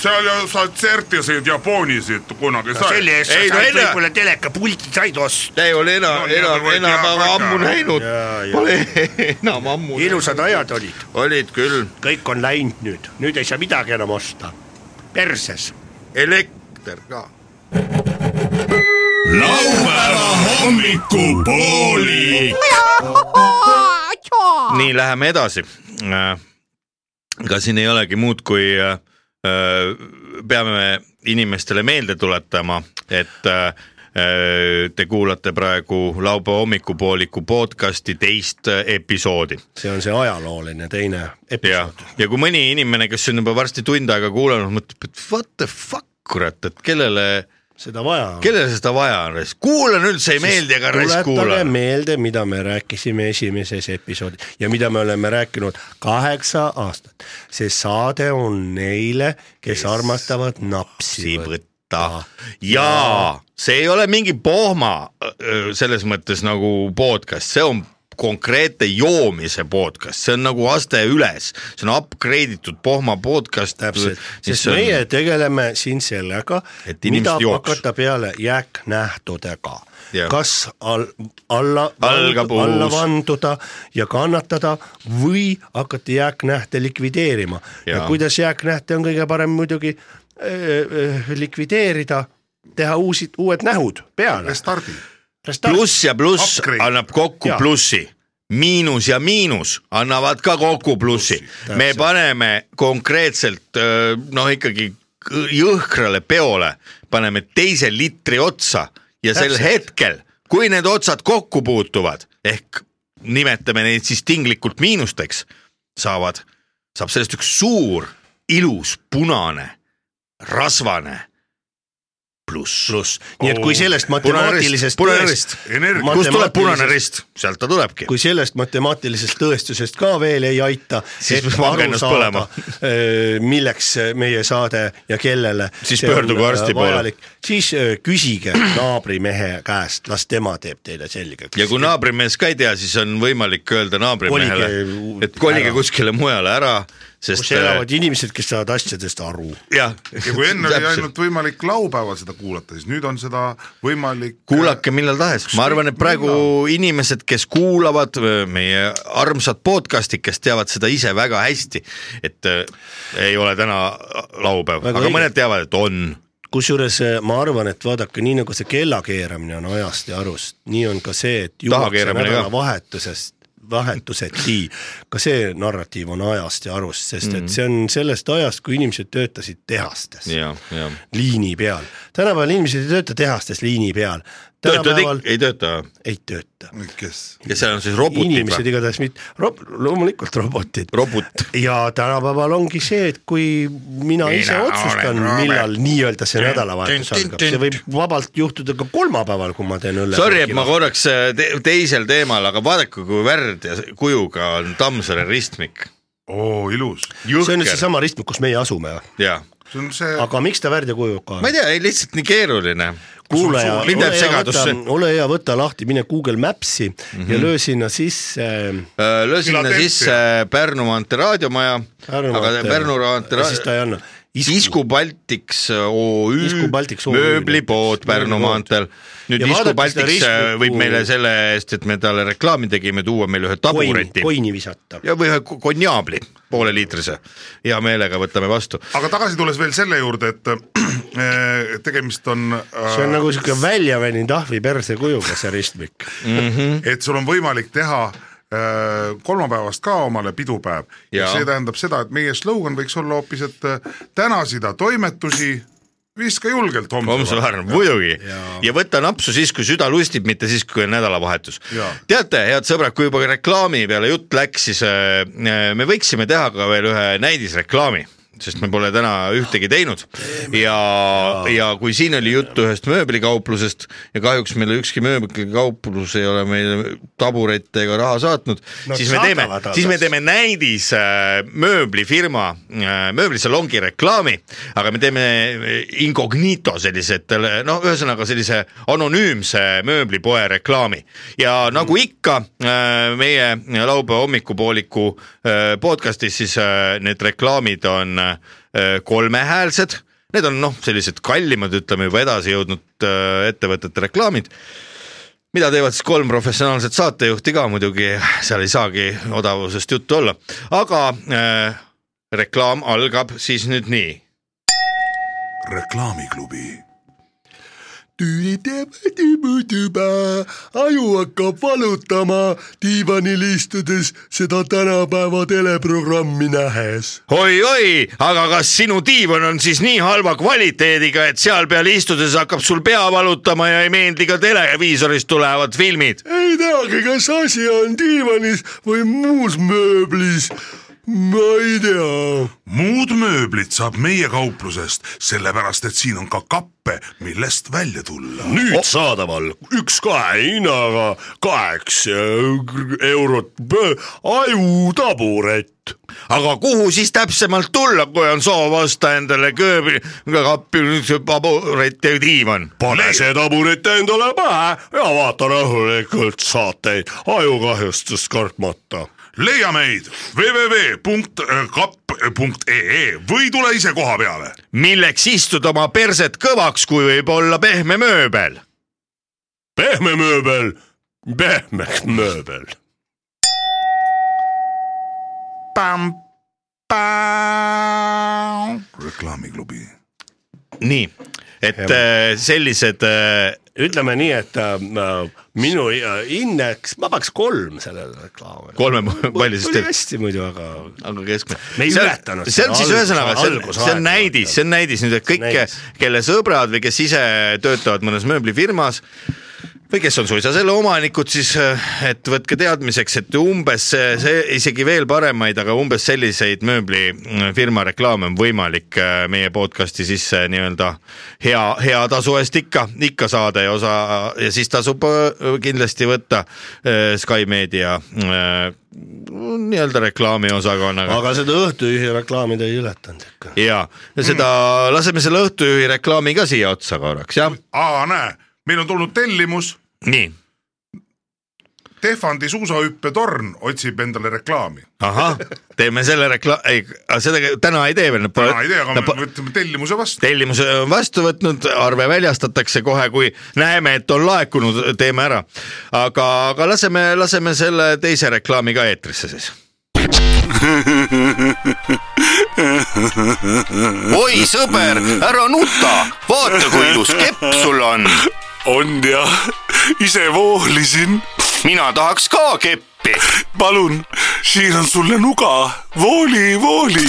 Speaker 5: seal ju sa tsertisid ja poonisid kunagi sai .
Speaker 12: selle eest sa
Speaker 1: Ei, no
Speaker 12: said
Speaker 1: enne-
Speaker 12: võib-olla telekapulti said osta .
Speaker 1: ei ole enam
Speaker 3: No, , nii
Speaker 1: enam
Speaker 3: nagu ,
Speaker 1: enam
Speaker 3: hea
Speaker 1: aga
Speaker 3: kaka.
Speaker 1: ammu näinud
Speaker 12: Jaa, jaa. .
Speaker 1: Pole enam ammu .
Speaker 12: ilusad ajad olid ,
Speaker 1: olid küll ,
Speaker 12: kõik on läinud nüüd , nüüd ei saa midagi enam osta . perses .
Speaker 1: elekter ka .
Speaker 5: laupäeva hommikupooli .
Speaker 1: nii , läheme edasi . ega siin ei olegi muud , kui äh, äh, peame inimestele meelde tuletama , et äh, äh, Te kuulate praegu laupäeva hommikupooliku podcasti teist äh, episoodi
Speaker 2: see on see ajalooline teine
Speaker 1: ja
Speaker 2: episood .,
Speaker 1: ja kui mõni inimene , kes on juba varsti tund aega kuulanud , mõtleb , et what the fuck , kurat , et kellele ,
Speaker 2: seda vaja on .
Speaker 1: kellele seda vaja on , kuulan üldse ei meeldi , aga raisk
Speaker 2: tuletage
Speaker 1: kuulan .
Speaker 2: meelde , mida me rääkisime esimeses episoodis ja mida me oleme rääkinud kaheksa aastat . see saade on neile , kes armastavad
Speaker 1: lapsi
Speaker 2: napsi võtta .
Speaker 1: võtta ja see ei ole mingi pohma öö, selles mõttes nagu podcast , see on konkreetne joomise podcast , see on nagu aste üles , see on upgrade itud pohma podcast .
Speaker 2: täpselt , sest meie tegeleme siin sellega
Speaker 1: Et ,
Speaker 2: mida
Speaker 1: inimesed jooks.
Speaker 2: hakata peale jääknähtudega
Speaker 1: Jah. .
Speaker 2: kas all , alla ,
Speaker 1: Algab uus.
Speaker 2: alla vanduda ja kannatada või hakata jääknähte likvideerima ja, ja
Speaker 1: Jaa.
Speaker 2: kuidas jääknähte on kõige parem muidugi äh, äh, likvideerida , teha uusi , uued nähud peale .
Speaker 3: restardi .
Speaker 1: pluss ja pluss
Speaker 3: Upgrade.
Speaker 1: annab kokku
Speaker 2: Jaa.
Speaker 1: plussi , miinus ja miinus annavad ka kokku plussi . me paneme konkreetselt öö, noh , ikkagi kõ- jõhkrale peole paneme teise litri otsa ja sel hetkel , kui need otsad kokku puutuvad ehk nimetame neid siis tinglikult miinusteks , saavad , saab sellest üks suur ilus punane rasvane pluss . pluss ,
Speaker 2: nii et kui sellest matemaatilisest
Speaker 1: punane
Speaker 2: tõest-
Speaker 1: rist ,
Speaker 3: Energia-
Speaker 1: kust tuleb punane
Speaker 2: matemaatilisest-
Speaker 1: rist , sealt ta tulebki .
Speaker 2: kui sellest matemaatilisest tõestusest ka veel ei aita ,
Speaker 1: Siis pange ennast põlema. ,
Speaker 2: äh, milleks meie saade ja kellele .
Speaker 1: Siis pöörduge arsti poole. .
Speaker 2: siis öö, küsige naabrimehe käest , las tema teeb teile selgeks .
Speaker 1: ja kui naabrimees ka ei tea , siis on võimalik öelda naabrimehele
Speaker 2: Kolige ,
Speaker 1: et kolige
Speaker 2: ära.
Speaker 1: kuskile mujale ära ,
Speaker 2: kus
Speaker 1: sest äh,
Speaker 2: elavad inimesed , kes saavad asjadest aru .
Speaker 1: jah .
Speaker 3: ja kui enne oli ainult võimalik laupäeval seda kuulata , siis nüüd on seda võimalik .
Speaker 1: kuulake millal tahes , ma arvan , et praegu inimesed , kes kuulavad öö, meie armsat podcast'i , kes teavad seda ise väga hästi , et öö, ei ole täna laupäev ,
Speaker 2: Väga
Speaker 1: aga
Speaker 2: õige.
Speaker 1: mõned teavad , et on
Speaker 2: kusjuures öö, ma arvan , et vaadake , nii nagu see kella keeramine on ajast ja arust , nii on ka see , et
Speaker 1: keeramine ka.
Speaker 2: vahetusest vahetuseti , ka see narratiiv on ajast ja arust , sest
Speaker 1: Mhm.
Speaker 2: et see on sellest ajast , kui inimesed töötasid tehastes .
Speaker 1: ja , ja .
Speaker 2: liini peal , tänapäeval inimesed ei tööta tehastes liini peal .
Speaker 1: töötajad ikka
Speaker 2: tänapäeval
Speaker 1: ei tööta
Speaker 2: ei tööta ,
Speaker 3: kes ?
Speaker 1: ja seal on siis robotid
Speaker 2: inimesed
Speaker 1: või ?
Speaker 2: igatahes mitte , loomulikult robotid .
Speaker 1: robot ,
Speaker 2: ja tänapäeval ongi see , et kui mina, mina ise otsustan , millal nii-öelda see nädalavahetus algab , see võib vabalt juhtuda ka kolmapäeval , kui ma teen õlle .
Speaker 1: sorry , et ma korraks äh, te teisel teemal , aga vaadake , kui värd ja kujuga on Tammsaare ristmik .
Speaker 3: oo , ilus .
Speaker 2: see on nüüd seesama ristmik , kus meie asume ,
Speaker 1: jaa ,
Speaker 3: see on see ,
Speaker 2: aga miks ta värdjakujuga
Speaker 1: ma
Speaker 2: on
Speaker 1: ei ? tea , ei lihtsalt nii keeruline .
Speaker 2: kuulaja ,
Speaker 1: mind
Speaker 2: ole
Speaker 1: jääb
Speaker 2: hea , võta
Speaker 1: segadusse ,. Mhm.
Speaker 2: ole hea , võta lahti , mine Google Maps'i mm -hmm. ja löö sinna sisse äh,
Speaker 1: löö sinna
Speaker 3: Philadelphia.
Speaker 1: sisse äh, Pärnu maantee raadiomaja ,
Speaker 2: Pärnu
Speaker 1: aga
Speaker 2: maantee-
Speaker 1: Pärnu
Speaker 2: ja siis ta ei
Speaker 1: maantee .
Speaker 2: anna .
Speaker 1: Isku Baltics OÜ
Speaker 2: Isku Baltics OÜ,
Speaker 1: mööblipood
Speaker 2: näiteks,
Speaker 1: Pärnu
Speaker 2: mööblipood.
Speaker 1: maanteel . nüüd
Speaker 2: Ja
Speaker 1: Isku
Speaker 2: vaadake seda
Speaker 1: Baltics äh,
Speaker 2: ristmikku-
Speaker 1: võib meile selle eest , et me talle reklaami tegime , tuua meile ühe
Speaker 2: koini ,
Speaker 1: tabureti
Speaker 2: koini visata .
Speaker 1: ja või ühe ko- konjaabli , pooleliitrise . hea meelega võtame vastu .
Speaker 3: aga tagasi tulles veel selle juurde , et äh, tegemist on
Speaker 2: see on
Speaker 3: äh, ,
Speaker 2: nagu siuke välja välinud ahvi perse kujuga see ristmik .
Speaker 3: et sul on võimalik teha äh, kolmapäevast ka omale pidupäev ja
Speaker 1: Jaa.
Speaker 3: see tähendab seda , et meie slogan võiks olla hoopis , et äh, tänasida toimetusi viska julgelt
Speaker 1: homse
Speaker 3: homse .
Speaker 1: varm , muidugi . ja võta napsu siis , kui süda lustib , mitte siis , kui on nädalavahetus . teate , head sõbrad , kui juba reklaami peale jutt läks , siis äh, me võiksime teha ka veel ühe näidisreklaami sest me pole täna ühtegi teinud ja , ja kui siin oli juttu ühest mööblikauplusest ja kahjuks meile ükski mööblikauplus ei ole meile taburette ega raha saatnud no, , siis me teeme
Speaker 2: saadavad ,
Speaker 1: siis me
Speaker 2: alles.
Speaker 1: teeme teeme näidis äh, mööblifirma , mööblisalongi reklaami , aga me teeme äh, incognito sellise , et tal- noh , ühesõnaga sellise anonüümse mööblipoe reklaami ja nagu
Speaker 2: Mm.
Speaker 1: ikka äh, meie laupäeva hommikupooliku äh, podcast'is , siis äh, need reklaamid on äh, kolmehäälsed , need on noh , sellised kallimad , ütleme juba edasi jõudnud äh, ettevõtete reklaamid mida teevad siis kolm professionaalset saatejuhti ka muidugi , seal ei saagi odavusest juttu olla , aga äh, reklaam algab siis nüüd nii .
Speaker 5: reklaamiklubi .
Speaker 12: aju hakkab valutama diivanil istudes seda tänapäeva teleprogrammi nähes .
Speaker 1: oi-oi , aga kas sinu diivan on siis nii halva kvaliteediga , et seal peal istudes hakkab sul pea valutama ja ei meeldi ka televiisorist tulevad filmid ?
Speaker 12: ei teagi , kas asi on diivanis või muus mööblis . ma ei tea .
Speaker 5: muud mööblit saab meie kauplusest , sellepärast et siin on ka kappe , millest välja tulla .
Speaker 12: nüüd saadaval üks kahe hinnaga kaheksa eurot pö- ajutaburet .
Speaker 1: aga kuhu siis täpsemalt tulla , kui on soov osta endale kööbi , kappi , paburet ja diivan ?
Speaker 12: pane see taburet endale pähe ja vaata rahulikult saateid ajukahjustust kartmata .
Speaker 5: leia meid www.kapp.ee või tule ise koha peale .
Speaker 1: milleks istuda oma perset kõvaks , kui võib olla pehme mööbel ?
Speaker 12: pehme mööbel , pehmeks mööbel .
Speaker 5: reklaamiklubi .
Speaker 1: nii , et äh, sellised äh,
Speaker 2: ütleme nii , et äh,
Speaker 12: minu äh, indeks , ma paneks kolm sellele reklaamile .
Speaker 1: kolme palli
Speaker 12: oli
Speaker 1: süsteem ,
Speaker 12: hästi muidu , aga
Speaker 1: aga keskmine .
Speaker 12: Me ei
Speaker 1: see on,
Speaker 12: ületanud
Speaker 1: see on
Speaker 12: seda
Speaker 1: siis
Speaker 12: algus-
Speaker 1: ühesõnaga , see on ,
Speaker 12: algusaega
Speaker 1: see on näidis , see on näidis nüüd , et kõik
Speaker 12: näidis. ,
Speaker 1: kelle sõbrad või kes ise töötavad mõnes mööblifirmas või kes on suisa selle omanikud , siis äh, et võtke teadmiseks , et umbes see, see , isegi veel paremaid , aga umbes selliseid mööblifirma reklaame on võimalik äh, meie podcast'i sisse nii-öelda hea , hea tasu eest ikka , ikka saada ja osa ja siis tasub äh, kindlasti võtta äh, Sky Media äh, nii-öelda reklaamiosakonnaga .
Speaker 2: aga seda õhtujuhi reklaami ta ei ületanud ikka .
Speaker 1: ja seda , laseme selle Õhtujuhi reklaami ka siia otsa korraks jah ,
Speaker 3: aa , näe , meil on tulnud tellimus ,
Speaker 1: nii
Speaker 3: Tehvandi suusahüppetorn otsib endale reklaami .
Speaker 1: ahah , teeme selle rekla- , ei , seda ke- täna ei tee veel .
Speaker 3: ma ei tea , aga me võtame tellimuse vastu .
Speaker 1: tellimuse on vastu võtnud , arve väljastatakse kohe , kui näeme , et on laekunud , teeme ära . aga , aga laseme , laseme selle teise reklaami ka eetrisse siis .
Speaker 4: oi sõber , ära nuta , vaata kui ilus kepp sul on .
Speaker 5: on jah , ise voolisin .
Speaker 4: mina tahaks ka keppi .
Speaker 5: palun , siin on sulle nuga , vooli , vooli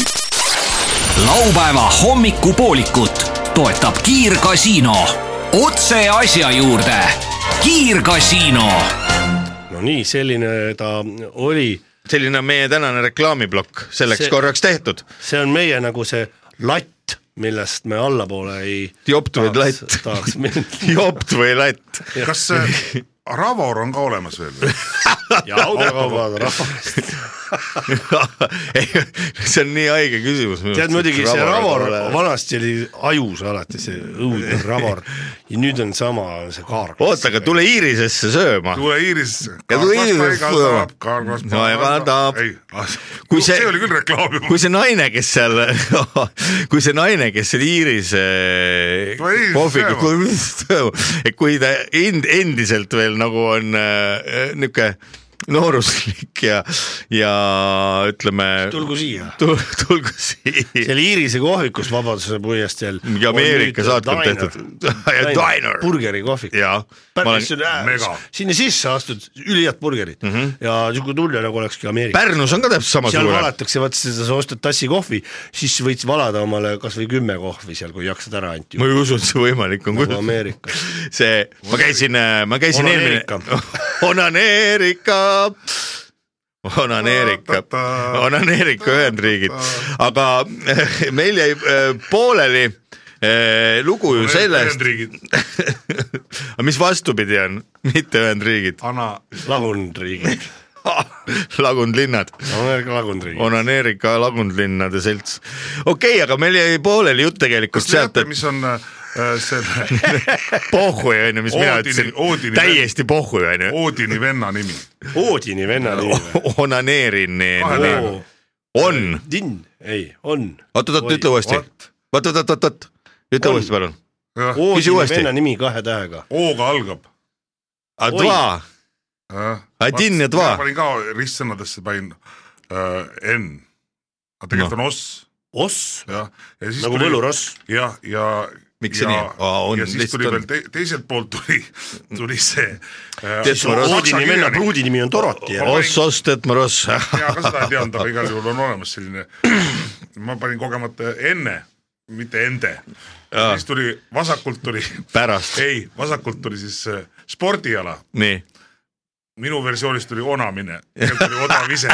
Speaker 6: laupäeva hommikupoolikut toetab Kiirgasiino . otse asja juurde . kiirgasiino .
Speaker 2: no nii , selline ta oli ,
Speaker 1: selline on meie tänane reklaamiplokk , selleks see...
Speaker 2: See-
Speaker 1: korraks tehtud .
Speaker 2: see on meie nagu see latt , millest me allapoole ei
Speaker 1: jopt
Speaker 2: Ah,
Speaker 1: või latt
Speaker 2: tahaks- , tahaks minna
Speaker 1: jopt või latt .
Speaker 3: kas äh, Ravor on ka olemas veel või ?
Speaker 2: ja autokaubad rahvast .
Speaker 1: see on nii haige küsimus .
Speaker 2: tead muidugi see ravor , vanasti oli ajus alati see õudne ravor ja nüüd on sama see kaargas .
Speaker 1: oota , aga tule Iirisesse sööma .
Speaker 3: tule Iiris .
Speaker 1: Ja tule Iirisesse sööma.
Speaker 3: karvas
Speaker 1: No ja kannatab.
Speaker 3: ei ,
Speaker 1: Kui see-
Speaker 3: see oli küll reklaam juba .
Speaker 1: kui see naine , kes seal , kui see naine , kes seal Iiris eh,
Speaker 3: No ei,
Speaker 1: kohviku , et kui ta end, endiselt veel nagu on äh, niuke nooruslik ja , ja ütleme ,
Speaker 2: tulgu siia .
Speaker 1: tulgu siia .
Speaker 2: seal Iirise kohvikus Vabaduse puiesteel .
Speaker 1: mingi Ameerika saatkond tehtud . Diner .
Speaker 2: burgeri kohvik .
Speaker 1: jaa , ma
Speaker 2: päris
Speaker 1: olen , Mhm.
Speaker 2: mega . sinna sisse astud , ülihead burgerid mm -hmm. ja niisugune tunne nagu olekski Ameerika .
Speaker 1: Pärnus on ka täpselt
Speaker 2: seal
Speaker 1: samasugune .
Speaker 2: valatakse , vaat seda , sa ostad tassi kohvi , siis võid valada omale kasvõi kümme kohvi seal , kui jaksad ära anti .
Speaker 1: ma ei usu , et see võimalik on .
Speaker 2: nagu Ameerikas .
Speaker 1: see , ma käisin , ma käisin eelmine
Speaker 2: Onaneerika. ,
Speaker 1: onaneerika , onaneerika , onaneerika Ühendriigid , aga meil jäi äh, pooleli äh, lugu ju sellest ,
Speaker 3: Ühendriigid ,
Speaker 1: mis vastupidi on , mitte Ühendriigid ,
Speaker 3: Anna ,
Speaker 2: lagundriigid ,
Speaker 1: lagundlinnad ,
Speaker 2: Ameerika lagundriigid .
Speaker 1: onaneerika lagundlinnade selts . okei okay, , aga meil jäi pooleli jutt tegelikult
Speaker 3: kas
Speaker 1: sealt ,
Speaker 3: teate ,
Speaker 1: et
Speaker 3: mis on äh, selle
Speaker 1: pohhui on ju , mis mina
Speaker 3: Oodini-
Speaker 1: ütlesin
Speaker 3: Oodini- ,
Speaker 1: täiesti pohhui on ju ,
Speaker 3: Oodini venna nimi ?
Speaker 2: Oodini venna nimi või ?
Speaker 1: onaneerin ,
Speaker 3: Kahe-
Speaker 1: on
Speaker 2: Din , ei , on .
Speaker 1: oot , oot , oot , ütle uuesti . oot , oot , oot , oot , oot , ütle
Speaker 2: On.
Speaker 1: uuesti , palun . Küsi
Speaker 2: Oodini
Speaker 1: uuesti.
Speaker 2: venna nimi kahe tähega .
Speaker 3: O-ga algab .
Speaker 1: Adva , Adin ja Dva ,
Speaker 3: Äh, panin ka ristsõnadesse , panin äh, N . aga tegelikult on Os ,
Speaker 2: Oss
Speaker 3: jah .
Speaker 2: nagu võluross .
Speaker 3: jah , ja .
Speaker 1: Miks see nii on? Aa, on,
Speaker 3: ja siis
Speaker 1: lihtsalt
Speaker 3: tuli
Speaker 1: on.
Speaker 3: veel te, teiselt poolt tuli , tuli see äh, .
Speaker 1: Tesmaros.
Speaker 2: Oodini venna pruudi nimi on Doroti ja
Speaker 1: Oss , Oss , Tetmaros .
Speaker 3: mina ka seda ei teadnud , aga igal juhul on olemas selline , ma panin kogemata enne , mitte ende . siis tuli vasakult tuli ,
Speaker 1: pärast ,
Speaker 3: ei , vasakult tuli siis äh, spordiala ,
Speaker 1: nii .
Speaker 3: minu versioonis tuli onamine , tegelikult tuli odav ise .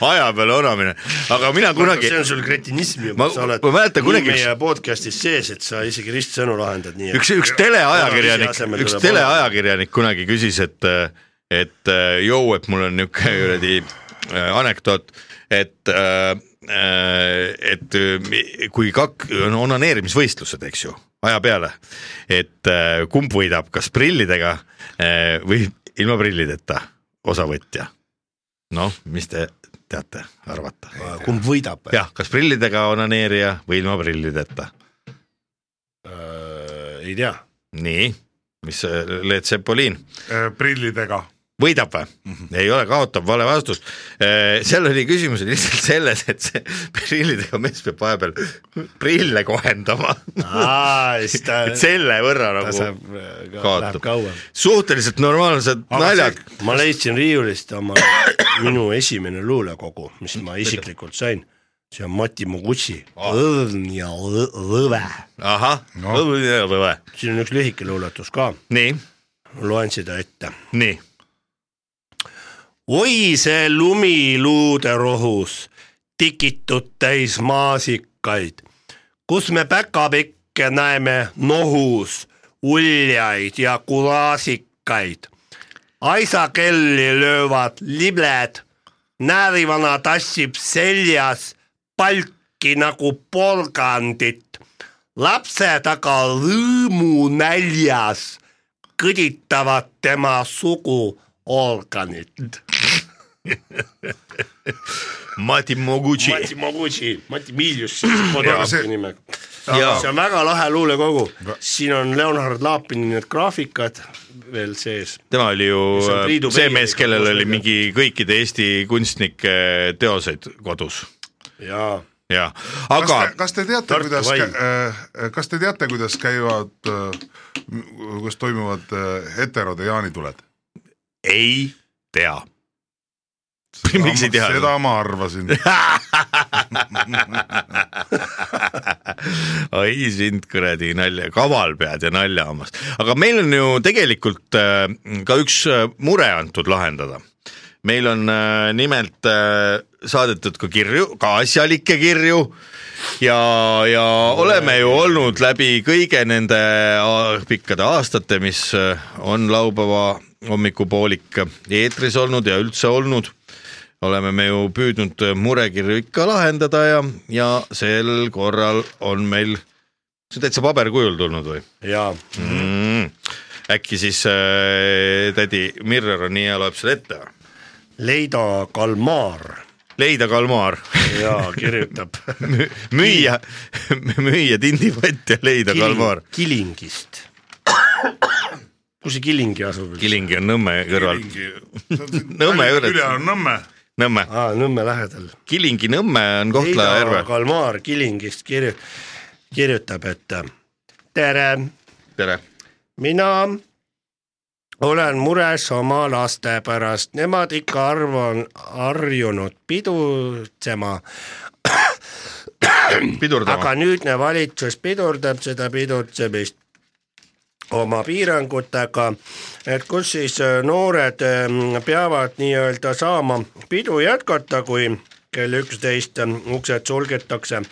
Speaker 1: aja peale onamine , aga mina kunagi
Speaker 2: see , on sul kretinism juba
Speaker 1: Ma- ,
Speaker 2: sa oled
Speaker 1: ma mäletan
Speaker 2: nii
Speaker 1: kunagi üks-
Speaker 2: meie podcast'is sees , et sa isegi ristsõnu lahendad nii .
Speaker 1: üks , üks teleajakirjanik
Speaker 2: Ise asemel ,
Speaker 1: üks
Speaker 2: tuleb
Speaker 1: teleajakirjanik kunagi küsis , et , et jõu , et mul on niisugune kuradi äh, anekdoot , et äh, äh, et äh, mi- kui kak- , no onaneerimisvõistlused , eks ju , aja peale , et äh, kumb võidab , kas prillidega äh, või ilma prillideta osavõtja . noh , mis te teate arvata ?
Speaker 2: kumb võidab ?
Speaker 1: jah , kas prillidega onaneerija või ilma prillideta
Speaker 2: äh, ei tea .
Speaker 1: nii , mis see Leet Sepoliin
Speaker 3: Äh, prillidega .
Speaker 1: võidab või mm ?
Speaker 2: Mhm.
Speaker 1: -hmm. ei ole , kaotab , vale vastus . seal oli küsimus lihtsalt selles , et see prillidega mees peab vahepeal prille kohendama ,
Speaker 2: aa , siis ta ,
Speaker 1: et selle võrra
Speaker 2: ta
Speaker 1: nagu
Speaker 2: saab , läheb
Speaker 1: kaotab
Speaker 2: kauem .
Speaker 1: suhteliselt normaalsed
Speaker 3: Aga
Speaker 1: naljad ,
Speaker 2: ma leidsin riiulist oma , minu esimene luulekogu , mis ma isiklikult sain , see on Mati Mugutsi Õõn ja Õ- Lõve .
Speaker 1: ahah , nii ,
Speaker 2: siin on üks lühike luuletus ka , loen seda ette
Speaker 1: nii ,
Speaker 2: oi see lumiluude rohus , tikitud täis maasikaid , kus me päkapikke näeme nohus , uljaid ja kulaasikaid . aisakelli löövad libled , näärivana tassib seljas palki nagu porgandit , lapse taga rõõmu näljas kõditavad tema suguorganit
Speaker 1: Mati Moguchi ,
Speaker 2: Mati Moguchi , Mati Miljus ,
Speaker 3: Aga see-
Speaker 2: Podolski nimega .
Speaker 1: Jaa.
Speaker 2: see on väga lahe luulekogu , siin on Leonhard Laapini need graafikad veel sees .
Speaker 1: tema oli ju
Speaker 2: See on Priidu
Speaker 1: äh, see
Speaker 2: Peilik,
Speaker 1: mees , kellel
Speaker 2: koos
Speaker 1: oli
Speaker 2: nendega.
Speaker 1: mingi kõikide Eesti kunstnike teoseid kodus
Speaker 2: jaa ,
Speaker 1: ja ,
Speaker 3: kas
Speaker 1: aga
Speaker 3: te , kas te teate ,
Speaker 2: Tartu
Speaker 3: kuidas äh,
Speaker 2: vaim. ,
Speaker 3: kas te teate , kuidas käivad , kuidas toimuvad äh, heterode jaanituled ?
Speaker 1: ei tea . miks ei tea ?
Speaker 3: seda ma arvasin .
Speaker 1: ai sind kuradi nalja , kaval pead ja naljahammas , aga meil on ju tegelikult äh, ka üks äh, mure antud lahendada . meil on äh, nimelt äh, saadetud ka kirju , ka asjalikke kirju ja , ja oleme ju olnud läbi kõige nende a- pikkade aastate , mis äh, on laupäeva hommikupoolik eetris olnud ja üldse olnud oleme me ju püüdnud äh, murekirju ikka lahendada ja , ja sel korral on meil , see on täitsa paberkujul tulnud või
Speaker 2: jaa ,
Speaker 1: mm. ? äkki siis äh, tädi Mirror on nii hea , loeb selle ette ?
Speaker 2: Leido Kalmar
Speaker 1: leida kalmaar ,
Speaker 2: jaa , kirjutab
Speaker 1: müüa , müüa tindipott ja leida
Speaker 2: Kiling,
Speaker 1: kalmaar .
Speaker 2: Kilingist . kus see Kilingi asub ?
Speaker 1: Kilingi on Nõmme kõrval , Nõmme
Speaker 3: Nõmme
Speaker 1: juures.
Speaker 3: üle on Nõmme ,
Speaker 1: Nõmme ,
Speaker 2: aa , Nõmme lähedal .
Speaker 1: Kilingi Nõmme on
Speaker 2: Heido
Speaker 1: Kohtla-Järve ,
Speaker 2: Kalmaar Kilingist kirju- , kirjutab , et äh, tere
Speaker 1: tere .
Speaker 2: mina olen mures oma laste pärast , nemad ikka arvan , harjunud pidutsema , aga
Speaker 1: pidurdama ,
Speaker 2: nüüdne valitsus pidurdab seda pidutsemist oma piirangutega , et kus siis äh, noored ähm, peavad nii-öelda saama pidu jätkata , kui kell üksteist ähm, uksed sulgetakse .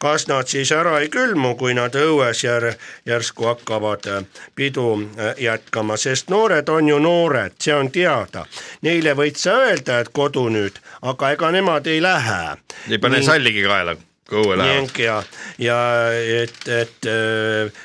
Speaker 2: kas nad siis ära ei külmu , kui nad õues jär, järsku hakkavad äh, pidu äh, jätkama , sest noored on ju noored , see on teada . Neile võid sa öelda , et kodu nüüd , aga ega nemad ei lähe .
Speaker 1: ei pane salligi kaela , kui õue lähevad .
Speaker 2: ning ja , ja et , et .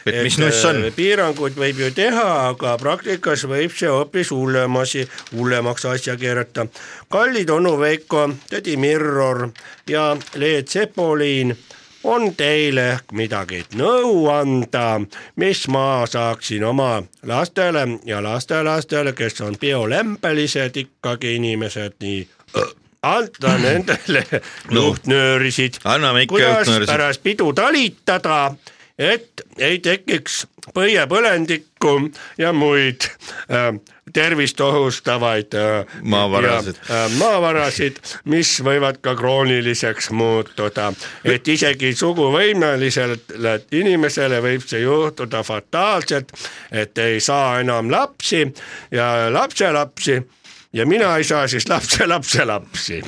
Speaker 1: Et mis nuss on?
Speaker 2: piiranguid võib ju teha , aga praktikas võib see hoopis hullem asi , hullemaks asja keerata . kallid onu Veiko , tädi Mirror ja Leet Sepoliin on teile ehk midagi nõu anda , mis ma saaksin oma lastele ja lastelastele , kes on biolembelised ikkagi inimesed , nii äh, anda nendele juhtnöörisid
Speaker 1: anname ikka
Speaker 2: kuidas
Speaker 1: juhtnöörisid.
Speaker 2: pärast pidu talitada , et ei tekiks põiepõlenikku ja muid äh, tervist ohustavaid äh,
Speaker 1: Maavarasid.
Speaker 2: ja, äh, maavarasid , mis võivad ka krooniliseks muutuda . et isegi suguvõimelisele inimesele võib see juhtuda fataalselt , et ei saa enam lapsi ja lapselapsi ja mina ei saa siis lapselapselapsi .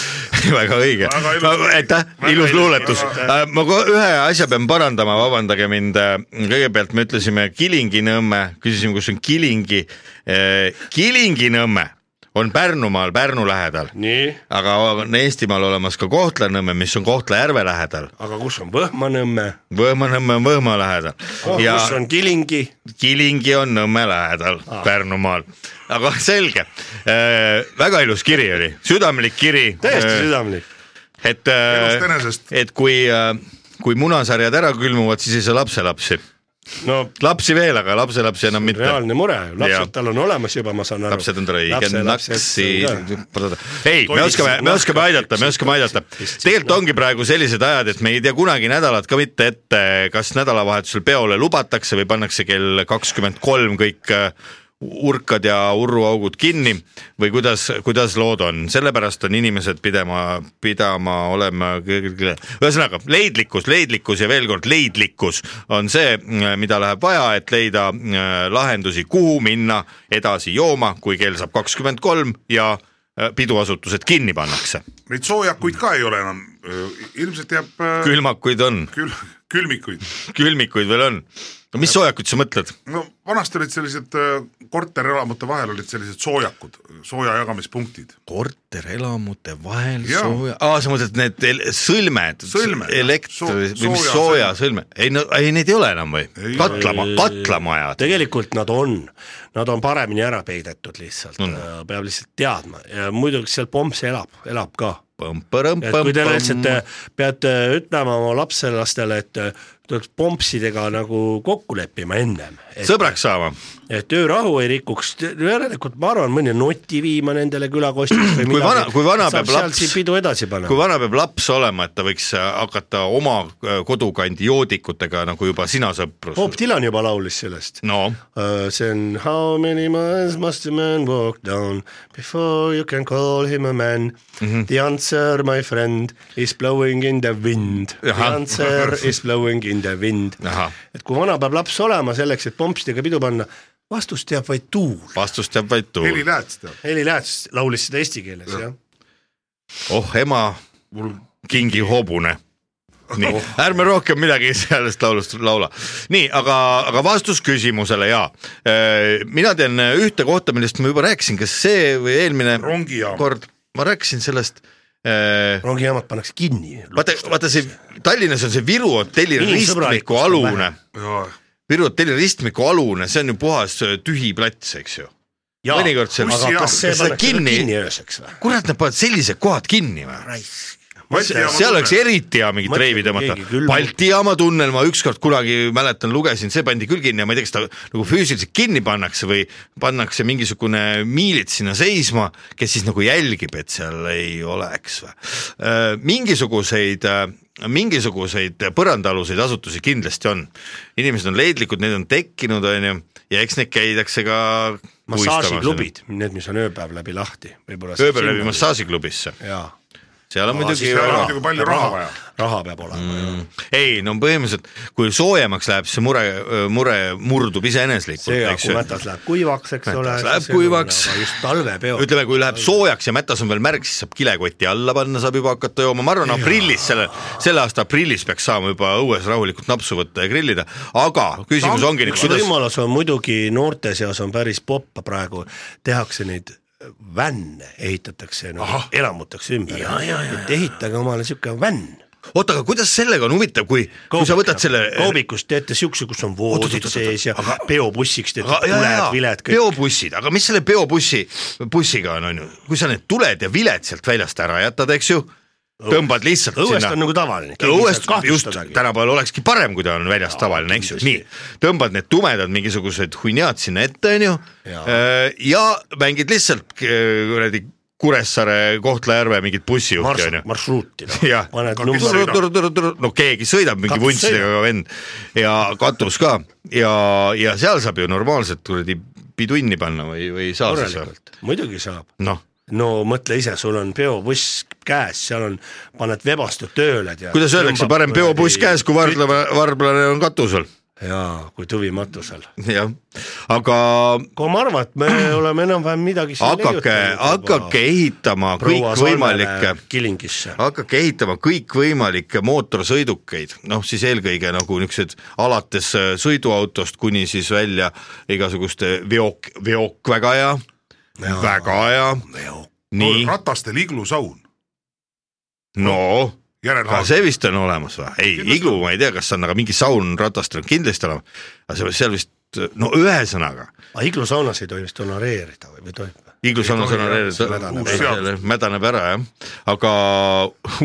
Speaker 1: väga õige
Speaker 3: Väga ilus. ,
Speaker 1: aitäh ,
Speaker 3: Väga
Speaker 1: ilus
Speaker 3: ilus.
Speaker 1: luuletus . ma ko- ühe asja pean parandama , vabandage mind , kõigepealt me ütlesime Kilingi-Nõmme , küsisime , kus on Kilingi . Kilingi-Nõmme on Pärnumaal , Pärnu lähedal ,
Speaker 2: nii
Speaker 1: aga on Eestimaal olemas ka Kohtla-Nõmme , mis on Kohtla-Järve lähedal .
Speaker 2: aga kus on Võhmanõmme ,
Speaker 1: Võhma-Nõmme on Võhma lähedal
Speaker 2: oh,
Speaker 1: ja
Speaker 2: kus on Kilingi ,
Speaker 1: Kilingi on Nõmme lähedal ah. Pärnumaal , aga selge äh, . väga ilus kiri oli , südamlik kiri .
Speaker 2: täiesti äh, südamlik .
Speaker 1: et äh,
Speaker 3: elust , enesest ,
Speaker 1: et kui , kui munasarjad ära külmuvad , siis ei saa lapselapsi .
Speaker 2: no
Speaker 1: lapsi veel , aga lapselapsi enam mitte .
Speaker 2: reaalne mure ,
Speaker 1: Jaa.
Speaker 2: lapsed tal on olemas juba , ma saan aru .
Speaker 1: lapsed on traigenaksi , ei , me oskame , me oskame aidata , me oskame aidata . tegelikult ongi praegu sellised ajad , et me ei tea kunagi nädalat ka mitte ette , kas nädalavahetusel peole lubatakse või pannakse kell kakskümmend kolm kõik äh, urkad ja urruaugud kinni või kuidas , kuidas lood on , sellepärast on inimesed pidama , pidama olema , ühesõnaga leidlikkus , leidlikkus ja veel kord leidlikkus on see , mida läheb vaja , et leida äh, lahendusi , kuhu minna edasi jooma , kui kell saab kakskümmend kolm ja äh, piduasutused kinni pannakse .
Speaker 3: neid soojakuid ka ei ole enam , ilmselt jääb äh,
Speaker 1: külmakuid on ,
Speaker 3: kül- , külmikuid .
Speaker 1: külmikuid veel on . no mis soojakuid sa mõtled ?
Speaker 3: no vanasti olid sellised äh, korterelamute vahel olid sellised soojakud , sooja jagamispunktid .
Speaker 1: korterelamute vahel
Speaker 3: Jaa.
Speaker 1: sooja , aa sa mõtled need el- sõlmed,
Speaker 3: Sõlmed, jah.
Speaker 1: elektri
Speaker 3: Soo-
Speaker 1: või mis
Speaker 3: sooja
Speaker 1: sooja sõlme , ei no ei neid ei ole enam või ? katlama , katlamajad ,
Speaker 2: tegelikult nad on , nad on paremini ära peidetud lihtsalt
Speaker 1: On.
Speaker 2: mm. , peab lihtsalt teadma ja muidugi seal Pomps elab , elab ka . et kui te lihtsalt
Speaker 1: põmm-põrõmm-põmm ,
Speaker 2: peate ütlema oma lapselastele , et äh, tuleks Pompsidega nagu kokku leppima ennem , et,
Speaker 1: sõbraks saama ,
Speaker 2: et öörahu ei rikuks , järelikult ma arvan , mõni noti viima nendele külakostist või
Speaker 1: Kui vana- kui vana
Speaker 2: saab
Speaker 1: peab
Speaker 2: sealt
Speaker 1: laps-
Speaker 2: siin pidu edasi panema
Speaker 1: kui . vana peab laps olema , et ta võiks äh, hakata oma äh, kodukandi joodikutega nagu juba sina
Speaker 2: Bob
Speaker 1: sõprus ,
Speaker 2: Dylan juba laulis sellest .
Speaker 1: no
Speaker 2: see on How many miles must a man walk down before you can call him a man mm . -hmm. The answer , my friend , is blowing in the wind . The
Speaker 1: Ahah.
Speaker 2: answer is blowing in the wind .
Speaker 1: Ahah.
Speaker 2: et kui vana peab laps olema selleks , et pompsidega pidu panna , vastust teab vaid tuul .
Speaker 1: vastust jääb vaid
Speaker 3: Heli
Speaker 1: tuul ,
Speaker 3: Lääts teab ,
Speaker 2: Heli Lääts laulis seda eesti keeles , jah .
Speaker 1: oh ema ,
Speaker 3: mul
Speaker 1: kingi hobune . nii ,
Speaker 2: Oh.
Speaker 1: ärme rohkem midagi sellest laulust laula . nii , aga , aga vastus küsimusele ja mina tean ühte kohta , millest ma juba rääkisin , kas see või eelmine
Speaker 3: Rongijaam.
Speaker 1: kord ma rääkisin sellest . vaata ,
Speaker 2: rongijaamad pannakse kinni .
Speaker 1: vaata see Tallinnas on see Viru hotelli
Speaker 2: Inimsõbralikkust
Speaker 1: ristmiku
Speaker 2: on
Speaker 1: alune
Speaker 2: vähe. ,
Speaker 3: jaa,
Speaker 1: Viru hotelli ristmiku alune , see on ju puhas äh, tühi plats , eks ju . mõnikord see ,
Speaker 2: aga
Speaker 3: bussijaam.
Speaker 2: kas see
Speaker 1: kas seda
Speaker 2: pannakse kinni,
Speaker 1: kinni ,
Speaker 2: kinni ööseks või ?
Speaker 1: kurat , nad panevad sellised kohad kinni või ?
Speaker 2: raisk .
Speaker 1: seal oleks eriti hea mingit
Speaker 2: Mõtle,
Speaker 1: reivi tõmmata
Speaker 2: keegi külmutab. .
Speaker 1: Balti jaama tunnel ma ükskord kunagi mäletan , lugesin , see pandi küll kinni ja ma ei tea , kas ta nagu füüsiliselt kinni pannakse või pannakse mingisugune miilits sinna seisma , kes siis nagu jälgib , et seal ei oleks või . mingisuguseid , mingisuguseid põrandaaluseid asutusi kindlasti on . inimesed on leidlikud , neid on tekkinud , onju , ja eks neid käidakse ka
Speaker 2: massaažiklubid , need , mis on ööpäev läbi lahti , võib-olla .
Speaker 1: ööbel läbi . massaažiklubisse ,
Speaker 2: jaa ,
Speaker 1: seal on muidugi
Speaker 3: siis seal on muidugi palju raha vaja .
Speaker 2: raha peab olema mm. .
Speaker 1: ei no põhimõtteliselt , kui soojemaks läheb , siis see mure , mure murdub
Speaker 2: see ,
Speaker 1: iseeneslikult , eks
Speaker 2: kui
Speaker 1: ju .
Speaker 2: mätas läheb kuivaks , eks ole .
Speaker 1: läheb kuivaks.
Speaker 2: nagu just talvepeod .
Speaker 1: ütleme , kui läheb soojaks ja mätas on veel märg , siis saab kilekoti alla panna , saab juba hakata jooma , ma arvan , aprillis selle , selle aasta aprillis peaks saama juba õues rahulikult napsu võtta ja grillida , aga küsimus ongi nüüd ,
Speaker 2: üks
Speaker 1: kuidas
Speaker 2: võimalus on muidugi noorte seas on päris popp praegu , tehakse neid vänne , ehitatakse no, , elamutakse ümber , et ehitage omale siuke vänn .
Speaker 1: oota , aga kuidas sellega on huvitav , kui , kui sa võtad selle
Speaker 2: kaubikust teete siukse , kus on voodid
Speaker 1: Oot-oot-oot-oot-oot.
Speaker 2: sees ja
Speaker 1: Aga-
Speaker 2: peopussiks teete
Speaker 1: aga ja ,
Speaker 2: tuled ,
Speaker 1: ja
Speaker 2: viled , kõik .
Speaker 1: peopussid , aga mis selle peopussi , bussiga on , on ju , kui sa need tuled ja viled sealt väljast ära jätad , eks ju , tõmbad lihtsalt
Speaker 2: õuest
Speaker 1: sinna
Speaker 2: on nagu tavaline .
Speaker 1: õuest just tänapäeval olekski parem , kui ta on väljas tavaline , eks ju , nii . tõmbad need tumedad mingisugused hunniad sinna ette , onju . ja mängid lihtsalt äh, kuradi Kuressaare , Kohtla-Järve mingit bussijuhti ,
Speaker 2: Mars-
Speaker 1: onju .
Speaker 2: marsruuti noh.
Speaker 1: jah ,
Speaker 2: paned numbri ,
Speaker 1: no keegi sõidab mingi
Speaker 2: Katus
Speaker 1: vuntsidega ka vend ja katus ka ja , ja seal saab ju normaalselt kuradi pidunni panna või , või ei saa siis või ?
Speaker 2: korralikult , muidugi saab .
Speaker 1: noh ,
Speaker 2: no mõtle ise , sul on peopuss käes , seal on , paned vebastu tööle .
Speaker 1: kuidas öeldakse , parem peopuss käes , kui vardlane , varblane on katusel ,
Speaker 2: jaa , kui tuvi matusel .
Speaker 1: jah , aga
Speaker 2: kui ma arvan , et me oleme enam-vähem midagi siin
Speaker 1: hakake , hakake ehitama kõikvõimalikke ,
Speaker 2: kilingisse .
Speaker 1: hakake ehitama kõikvõimalikke mootorsõidukeid , noh siis eelkõige nagu niisugused alates äh, sõiduautost kuni siis välja igasuguste veok , veok väga hea , väga hea , nii ,
Speaker 3: ratastel iglusaun ,
Speaker 1: no aga
Speaker 3: järelhaag .
Speaker 1: see vist on olemas või ? ei , iglu ma ei tea , kas on , aga mingi saun ratastel on kindlasti olemas , aga see , seal vist , no ühesõnaga ,
Speaker 2: aga iglusaunas ei tohi vist honoreerida või , või tohib ?
Speaker 1: iglusaunas on
Speaker 2: see mädaneb
Speaker 3: ära.
Speaker 1: honoreeritud , mädaneb ära jah , aga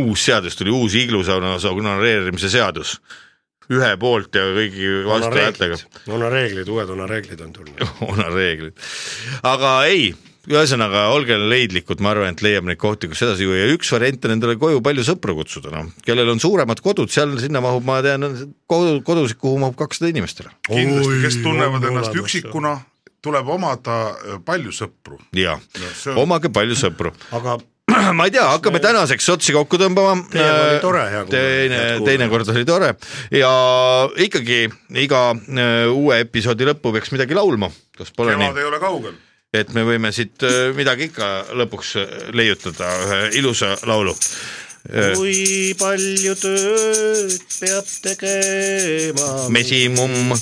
Speaker 1: uus seadus tuli , uus iglusaunas honoreerimise seadus . ühe poolt ja kõigi vastuhäältega
Speaker 2: honoreeglid , uued honoreeglid on tulnud .
Speaker 1: honoreeglid , aga ei ühesõnaga , olge leidlikud , ma arvan , et leiab neid kohti , kus edasi juua ja üks variant on endale koju palju sõpru kutsuda , noh , kellel on suuremad kodud , seal sinna mahub , ma tean , kodu , kodusid , kuhu mahub kakssada inimest ära
Speaker 3: kindlasti , kes tunnevad ennast üksikuna , tuleb omada äh, palju sõpru .
Speaker 1: ja
Speaker 3: see on-
Speaker 1: omage palju sõpru .
Speaker 2: aga
Speaker 1: ma ei tea , hakkame tänaseks otsi kokku tõmbama .
Speaker 2: Teema oli tore, hea kuulaja,
Speaker 1: teine
Speaker 2: head , kuulajad.
Speaker 1: teinekord oli tore ja ikkagi iga äh, uue episoodi lõppu peaks midagi laulma , kas pole
Speaker 3: kevad
Speaker 1: nii ,
Speaker 3: ei ole kaugel .
Speaker 1: et me võime siit äh, midagi ikka lõpuks äh, leiutada , ühe ilusa laulu . Eh.
Speaker 2: kui palju tööd peab tegema
Speaker 1: mesimumm ,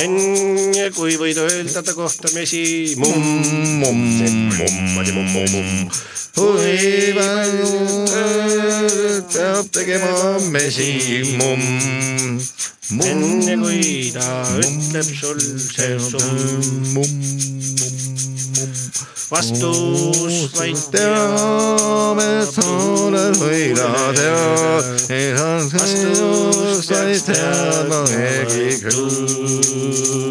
Speaker 2: enne , kui võid öelda ta kohta mesimumm .
Speaker 1: mumm , mumm , mumm , kui palju tööd äh, peab tegema mesimumm , mumm ,
Speaker 2: enne kui ta ütleb sul see summ . vastus vaid tea ,
Speaker 1: teame , et sa oled võina tea ,
Speaker 2: er
Speaker 1: ei saa seda teada keegi küll .